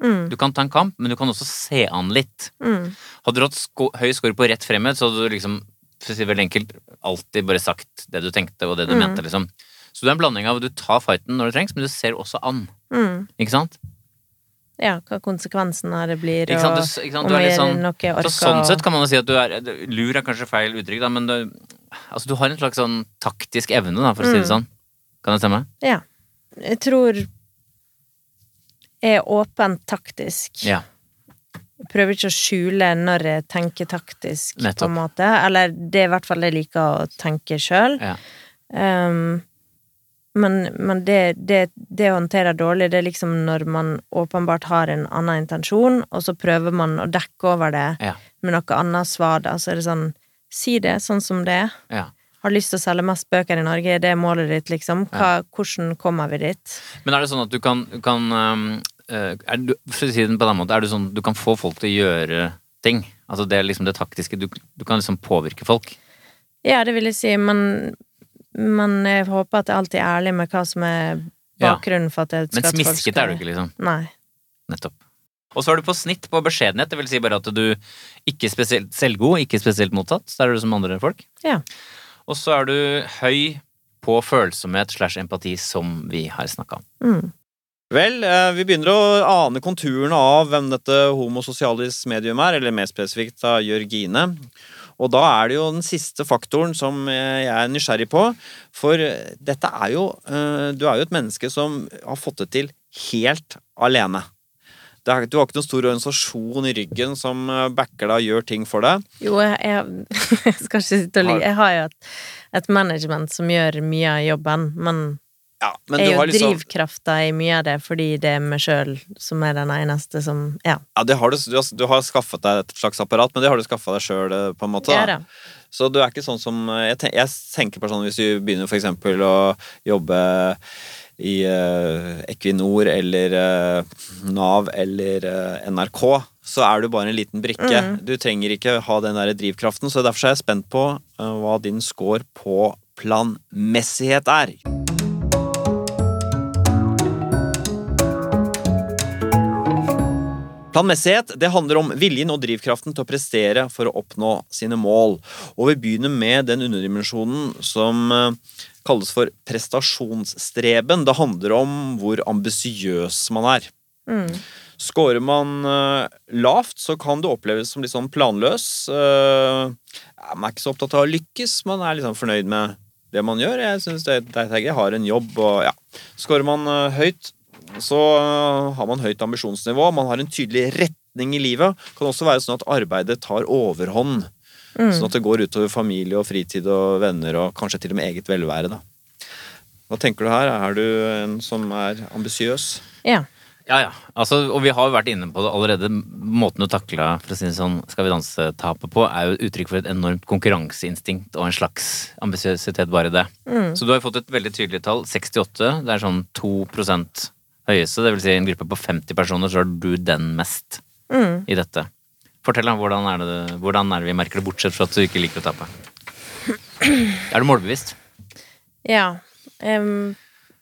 Speaker 4: Mm.
Speaker 3: Du kan ta en kamp, men du kan også se an litt.
Speaker 4: Mm.
Speaker 3: Hadde du hatt sko høy score på rett fremmed, så hadde du liksom for å si det veldig enkelt, alltid bare sagt det du tenkte og det du mente. liksom. Så det er en blanding av du tar fighten når det trengs, men du ser også an.
Speaker 4: Mm.
Speaker 3: Ikke sant?
Speaker 4: Ja, hva konsekvensen av det blir,
Speaker 3: Ikke sant?
Speaker 4: og
Speaker 3: Du, s- ikke sant?
Speaker 4: om
Speaker 3: Du er
Speaker 4: jeg
Speaker 3: litt sånn
Speaker 4: noe jeg orker.
Speaker 3: Så
Speaker 4: å-
Speaker 3: sånn sett kan man jo si at du er Lur er kanskje feil uttrykk, da, men du, altså, du har en slags sånn taktisk evne, da, for å si
Speaker 4: Mm.
Speaker 3: det sånn. Kan det stemme?
Speaker 4: Ja. Jeg tror jeg er åpen taktisk.
Speaker 3: Ja.
Speaker 4: Jeg prøver ikke å skjule når jeg tenker taktisk, på
Speaker 3: Nettopp.
Speaker 4: en måte. Eller det er i hvert fall det jeg liker å tenke sjøl.
Speaker 3: Ja.
Speaker 4: Um, men men det, det, det å håndtere dårlig, det er liksom når man åpenbart har en annen intensjon, og så prøver man å dekke over det
Speaker 3: Ja.
Speaker 4: med noe annet svar, da. Så er det sånn Si det sånn som det er.
Speaker 3: ja.
Speaker 4: Har lyst til å selge mest bøker i Norge, det er målet ditt, liksom. Hva, hvordan kommer vi dit?
Speaker 3: Men er det sånn at du kan, kan um, eh, er du, For å si det på den måten, er det sånn du kan få folk til å gjøre ting? Altså det er liksom det taktiske. Du, du kan liksom påvirke folk.
Speaker 4: Ja, det vil jeg si, men, men jeg håper at jeg alltid er ærlig med hva som er
Speaker 3: Ja.
Speaker 4: bakgrunnen for at jeg
Speaker 3: Men
Speaker 4: at folk
Speaker 3: smiskete
Speaker 4: skal-
Speaker 3: er du ikke, liksom.
Speaker 4: Nei.
Speaker 3: Nettopp. Og så er du på snitt på beskjedenhet, det vil si bare at du ikke er spesielt selvgod, ikke spesielt mottatt. Der er du som andre folk.
Speaker 4: Ja.
Speaker 3: Og så er du høy på følsomhet slash empati, som vi har snakka om.
Speaker 4: Mm.
Speaker 2: Vel, eh, vi begynner å ane konturene av hvem dette homososialis medium er, eller mer spesifikt da Jørgine. Og da er det jo den siste faktoren som eh, jeg er nysgjerrig på. For eh, dette er jo eh, Du er jo et menneske som har fått det til helt alene. Det er, du har ikke noen stor organisasjon i ryggen som eh, backer deg og gjør ting for deg.
Speaker 4: Jo, jeg, jeg, jeg skal ikke sitte og lyve. Jeg har jo et, et management som gjør mye av jobben, men,
Speaker 2: Ja, men
Speaker 4: jeg
Speaker 2: du
Speaker 4: er jo
Speaker 2: har liksom
Speaker 4: drivkrafta i mye av det fordi det er meg sjøl som er den eneste som Ja.
Speaker 2: ja, det har du, du, har, du har skaffet deg et slags apparat, men det har du skaffa deg sjøl, på en måte.
Speaker 4: ja
Speaker 2: da.
Speaker 4: da.
Speaker 2: Så du er ikke sånn som Jeg, ten, jeg tenker på sånn hvis du begynner for eksempel å jobbe i eh, Equinor eller eh, Nav eller eh, NRK, så er du bare en liten brikke. Du trenger ikke ha den der drivkraften, så derfor er jeg spent på eh, hva din score på planmessighet er. Planmessighet det handler om viljen og drivkraften til å prestere for å oppnå sine mål. Og vi begynner med den underdimensjonen som eh, kalles for prestasjonsstreben. Det handler om hvor ambisiøs man er.
Speaker 4: Mm.
Speaker 2: Skårer man eh, lavt, så kan det oppleves som litt sånn planløs. Eh, ja, man er ikke så opptatt av å lykkes, man er liksom fornøyd med det man gjør. Jeg synes det, det er greit, jeg har en jobb, og ja. Skårer man eh, høyt, så eh, har man høyt ambisjonsnivå. Man har en tydelig retning i livet. Det kan også være sånn at arbeidet tar overhånd. Sånn at det går utover familie og fritid og venner og kanskje til og med eget velvære. Da. Hva tenker du her? Er du en som er ambisiøs?
Speaker 4: Ja.
Speaker 3: Ja, ja. Altså, og vi har jo vært inne på det allerede. Måten du takla for å si det sånn, Skal vi danse-tapet på, er jo et uttrykk for et enormt konkurranseinstinkt og en slags ambisiøsitet, bare det.
Speaker 4: Mm.
Speaker 3: Så du har jo fått et veldig tydelig tall. 68. Det er sånn 2 høyeste. Det vil si en gruppe på 50 personer, så er du den mest
Speaker 4: Mm.
Speaker 3: i dette. Fortell da, hvordan er, det, hvordan er det vi merker det, bortsett fra at du ikke liker å tape? Er du målbevisst?
Speaker 4: ja. Em,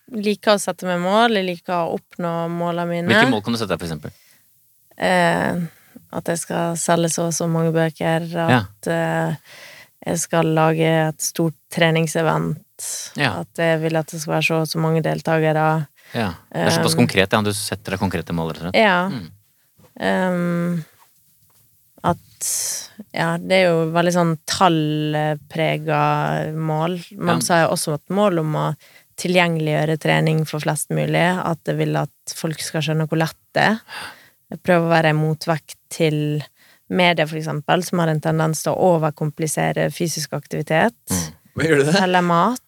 Speaker 4: liker å sette meg mål, jeg liker å oppnå måla mine.
Speaker 3: Hvilke mål kan du sette deg, for eksempel?
Speaker 4: Eh, at jeg skal selge så og så mange bøker, at eh, jeg skal lage et stort treningsevent,
Speaker 3: Ja.
Speaker 4: at jeg vil at det skal være så og så mange deltakere.
Speaker 3: Ja. Det er såpass
Speaker 4: Um,
Speaker 3: konkret, ja. Du setter deg konkrete mål, rett og slett.
Speaker 4: Ja.
Speaker 3: Mm.
Speaker 4: Em, at Ja, det er jo veldig sånn tallprega mål. Man
Speaker 3: Ja.
Speaker 4: sa jo også et mål om å tilgjengeliggjøre trening for flest mulig. At jeg vil at folk skal skjønne hvor lett det er. Jeg prøver å være en motvekt til media, for eksempel, som har en tendens til å overkomplisere fysisk aktivitet.
Speaker 3: Mm.
Speaker 2: Gjør du
Speaker 4: Eller mat.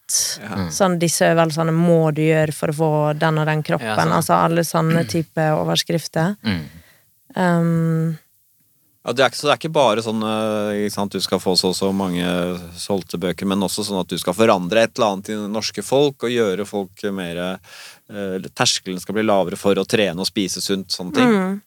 Speaker 4: Sånn, disse øvelsene må du gjøre for å få den og den kroppen.
Speaker 3: Ja, sånn.
Speaker 4: Altså alle sånne type overskrifter.
Speaker 3: Mm.
Speaker 4: Um,
Speaker 2: Ja, det er ikke, så det er ikke bare sånn eh, ikke sant, du skal få så og så mange solgte bøker, men også sånn at du skal forandre et eller annet i det norske folk og gjøre folk mer eh, Terskelen skal bli lavere for å trene og spise sunt, sånne
Speaker 4: Mm.
Speaker 2: ting.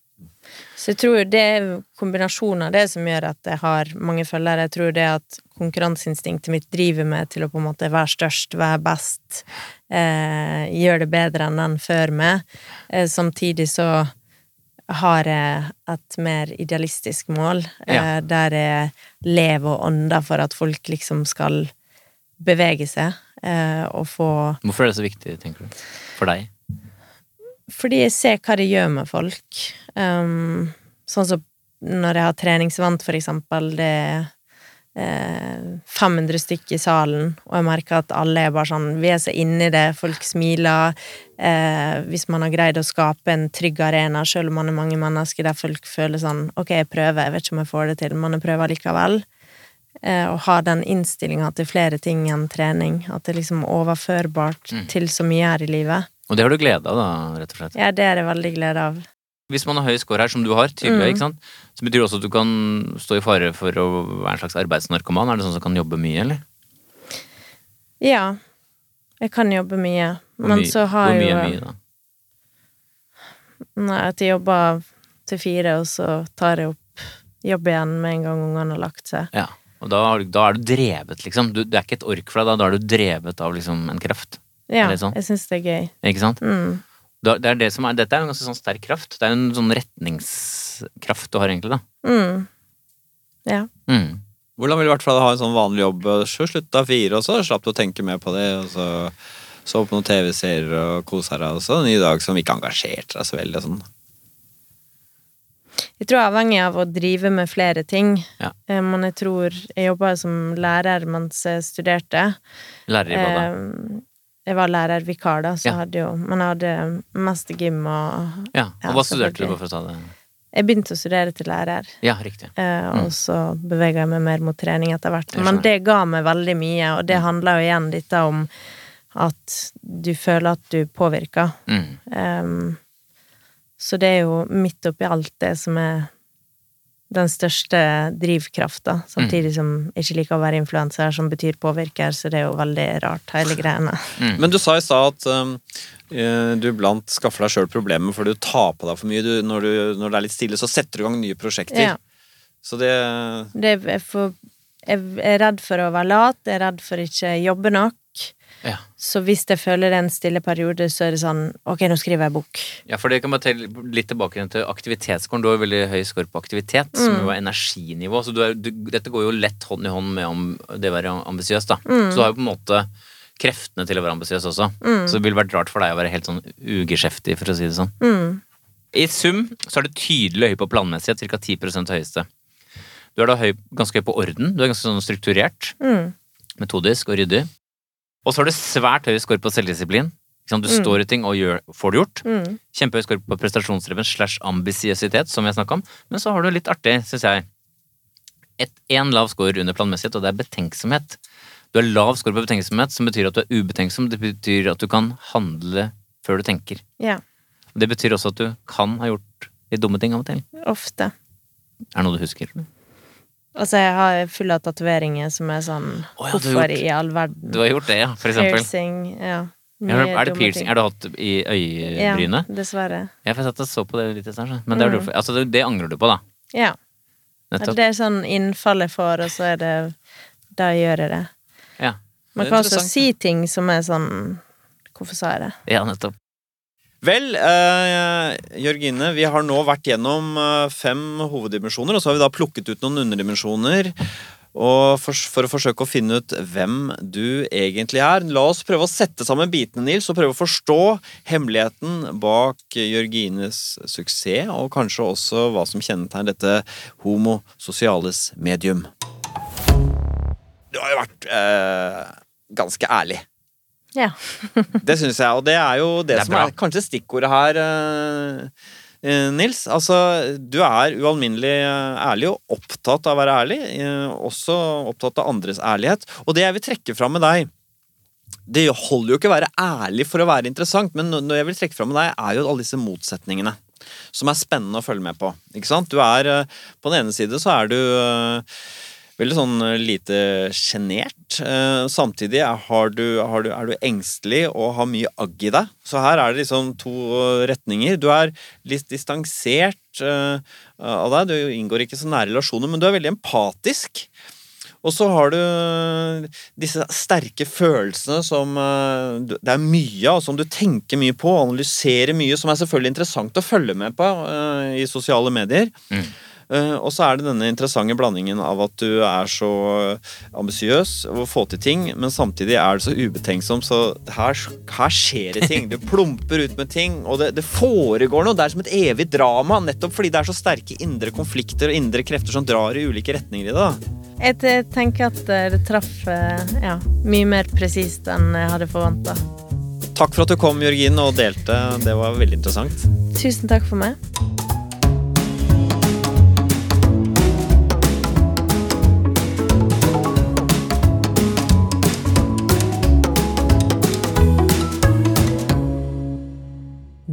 Speaker 4: Så jeg tror jo det er kombinasjonen av det som gjør at jeg har mange følgere. Jeg tror det at konkurranseinstinktet mitt driver meg til å på en måte være størst, være best, eh, gjøre det bedre enn den før meg. Eh, samtidig så har jeg et mer idealistisk mål, eh,
Speaker 3: Ja.
Speaker 4: der jeg lever og ånder for at folk liksom skal bevege seg eh, og få
Speaker 3: Hvorfor er det så viktig, tenker du? For deg?
Speaker 4: fordi jeg ser hva det gjør med folk. Um, sånn som når jeg har treningsvant, for eksempel, det er eh, 500 stykk i salen, og jeg merker at alle er bare sånn Vi er så inni det, folk smiler. Eh, hvis man har greid å skape en trygg arena, selv om man er mange mennesker, der folk føler sånn Ok, jeg prøver, jeg vet ikke om jeg får det til, men jeg prøver likevel. Eh, å ha den innstillinga til flere ting enn trening. At det er liksom overførbart til så mye her i livet.
Speaker 3: Og det har du glede av, da, rett og slett.
Speaker 4: Ja, det er jeg veldig glede av.
Speaker 3: Hvis man har høy score her, som du har,
Speaker 4: Mm.
Speaker 3: tydelig, ikke sant? så betyr det også at du kan stå i fare for å være en slags arbeidsnarkoman. Er det sånn som kan jobbe mye, eller?
Speaker 4: Ja. Jeg kan jobbe mye,
Speaker 3: Hvor
Speaker 4: men
Speaker 3: mye-
Speaker 4: så har
Speaker 3: Hvor
Speaker 4: jeg
Speaker 3: mye
Speaker 4: jo
Speaker 3: er mye, da?
Speaker 4: Nei, at jeg jobber til fire, og så tar jeg opp jobb igjen med en gang ungene har lagt seg.
Speaker 3: Ja. Og da, har du- da er du drevet, liksom. Du, det er ikke et ork for deg, da. Da er du drevet av liksom en kraft.
Speaker 4: Ja,
Speaker 3: Er det sånn?
Speaker 4: jeg syns det er gøy.
Speaker 3: Ikke sant?
Speaker 4: Mm.
Speaker 3: Da, det er det som er, dette er jo en ganske sånn sterk kraft. Det er jo en sånn retningskraft du har, egentlig, da.
Speaker 4: Mm. Ja.
Speaker 3: Mm.
Speaker 2: Hvordan ville det vært for deg å ha en sånn vanlig jobb? Så slutta fire, og så slapp du å tenke mer på det. og så... Så på noen TV-serier og koser deg også. En ny dag som ikke engasjerte deg så veldig. og Sånn.
Speaker 4: Jeg tror jeg er avhengig av å drive med flere ting.
Speaker 3: Ja.
Speaker 4: Eh, Men jeg tror Jeg jobba som lærer mens jeg studerte.
Speaker 3: Lærer i badet.
Speaker 4: Eh, Jeg var lærervikar, da, så
Speaker 3: Ja.
Speaker 4: hadde jo Men jeg hadde mest gym og
Speaker 3: ja. Og
Speaker 4: ja,
Speaker 3: hva studerte
Speaker 4: selvfølgelig.
Speaker 3: du på for å ta det?
Speaker 4: Jeg begynte å studere til lærer.
Speaker 3: Ja, riktig.
Speaker 4: Eh, Og så beveget jeg meg mer mot trening etter hvert.
Speaker 3: Mm. Jeg
Speaker 4: Men
Speaker 3: skjønner. Mm.
Speaker 4: det ga meg veldig mye, og det handler jo igjen litt om at du føler at du påvirker.
Speaker 3: Mm.
Speaker 4: Em, så det er jo midt oppi alt det som er den største drivkrafta, samtidig
Speaker 3: Mm.
Speaker 4: som jeg ikke liker å være influenser, som betyr påvirker, så det er jo veldig rart, hele greiene.
Speaker 2: Men du sa i stad at um, eh, du iblant skaffer deg sjøl problemer fordi du tar på deg for mye. Du, når, du, når det er litt stille, så setter du i gang nye prosjekter.
Speaker 4: Ja.
Speaker 2: Så det
Speaker 4: Det er for, jeg er redd for å være lat, jeg er redd for ikke å jobbe nok.
Speaker 3: Ja.
Speaker 4: Så hvis jeg føler det er en stille periode, så er det sånn Ok, nå skriver jeg bok.
Speaker 3: Ja, for det kan man telle litt tilbake igjen til aktivitetsskolen. Du har jo veldig høy skår på aktivitet, som jo er energinivå. Så du er, du, dette går jo lett hånd i hånd med om det å være ambisiøs, da. Så du har jo på en måte kreftene til å være ambisiøs også. Så det ville vært rart for deg å være helt sånn ugeskjeftig, for å si det sånn.
Speaker 4: Mm,
Speaker 3: I sum så er du tydelig høy på planmessighet, ca. 10 høyeste. Du er da høy, ganske høy på orden. Du er ganske sånn strukturert,
Speaker 4: mm,
Speaker 3: metodisk og ryddig. Og så har du svært høy skår på selvdisiplin. Ikke sant? Du står i ting og gjør, får det gjort.
Speaker 4: mm.
Speaker 3: Kjempehøy skår på prestasjonsdreven slash ambisiøsitet, som vi har snakka om. Men så har du litt artig, syns jeg, et én lav skår under planmessighet, og det er betenksomhet. Du har lav skår på betenksomhet, som betyr at du er ubetenksom. Det betyr at du kan handle før du tenker.
Speaker 4: Ja.
Speaker 3: Og Det betyr også at du kan ha gjort litt dumme ting av og til.
Speaker 4: Ofte.
Speaker 3: Er det noe du husker?
Speaker 4: Altså, jeg har full av tatoveringer som er sånn
Speaker 3: Å ja, du har
Speaker 4: Hvorfor
Speaker 3: gjort-
Speaker 4: i all verden?
Speaker 3: Du har gjort det, ja, for eksempel.
Speaker 4: Piercing. Ja.
Speaker 3: Ja,
Speaker 4: Mye
Speaker 3: er det
Speaker 4: dumme
Speaker 3: piercing?
Speaker 4: ting.
Speaker 3: Er det hatt i øyebrynet?
Speaker 4: Ja, dessverre.
Speaker 3: Ja, for jeg satt og så på det litt i stad, så. men det, har du, altså, det, det angrer du på, da.
Speaker 4: Ja.
Speaker 3: Nettopp.
Speaker 4: Det er sånn innfall jeg får, og så er det Da gjør jeg det.
Speaker 3: Ja.
Speaker 4: Man
Speaker 2: Det er
Speaker 4: kan også
Speaker 2: interessant.
Speaker 4: si ting som er sånn Hvorfor sa jeg det?
Speaker 3: ja, nettopp.
Speaker 2: Vel, eh, Jørgine, vi har nå vært gjennom eh, fem hoveddimensjoner, og så har vi da plukket ut noen underdimensjoner. Og for, for å forsøke å finne ut hvem du egentlig er, la oss prøve å sette sammen bitene, Nils, og prøve å forstå hemmeligheten bak Jørgines suksess, og kanskje også hva som kjennetegner dette homo sociales medium. Du har jo vært eh, ganske ærlig.
Speaker 4: Ja.
Speaker 2: Det syns jeg, og det er jo det,
Speaker 3: Det er
Speaker 2: som
Speaker 3: bra.
Speaker 2: er kanskje stikkordet her, eh, eh, Nils. Altså, du er ualminnelig eh, ærlig og opptatt av å være ærlig. eh, også opptatt av andres ærlighet. Og det jeg vil trekke fram med deg Det holder jo ikke å være ærlig for å være interessant, men no- når jeg vil trekke fram med deg, er jo alle disse motsetningene. Som er spennende å følge med på. Ikke sant? Du er, eh, på den ene side så er du eh, Veldig sånn eh, lite sjenert. Eh, Samtidig er, har du, har du, er du engstelig og har mye agg i deg. Så her er det liksom to eh, retninger. Du er litt distansert eh, av deg. Du inngår ikke så nære relasjoner, men du er veldig empatisk. Og så har du eh, disse sterke følelsene som eh, du- det er mye av, som du tenker mye på, analyserer mye, som er selvfølgelig interessant å følge med på eh, i sosiale medier. Eh, Og så er det denne interessante blandingen av at du er så eh, ambisiøs og får til ting, men samtidig er du så ubetenksom, så her, her skjer det ting. Du plumper ut med ting, og det, det foregår noe. Det er som et evig drama, nettopp fordi det er så sterke indre konflikter og indre krefter som drar i ulike retninger i det. da.
Speaker 4: Jeg t- tenker at eh, det traff eh, ja, mye mer presist enn jeg hadde forventa.
Speaker 2: Takk for at du kom, Jørgine, og delte. Det var veldig interessant.
Speaker 4: Tusen takk for meg.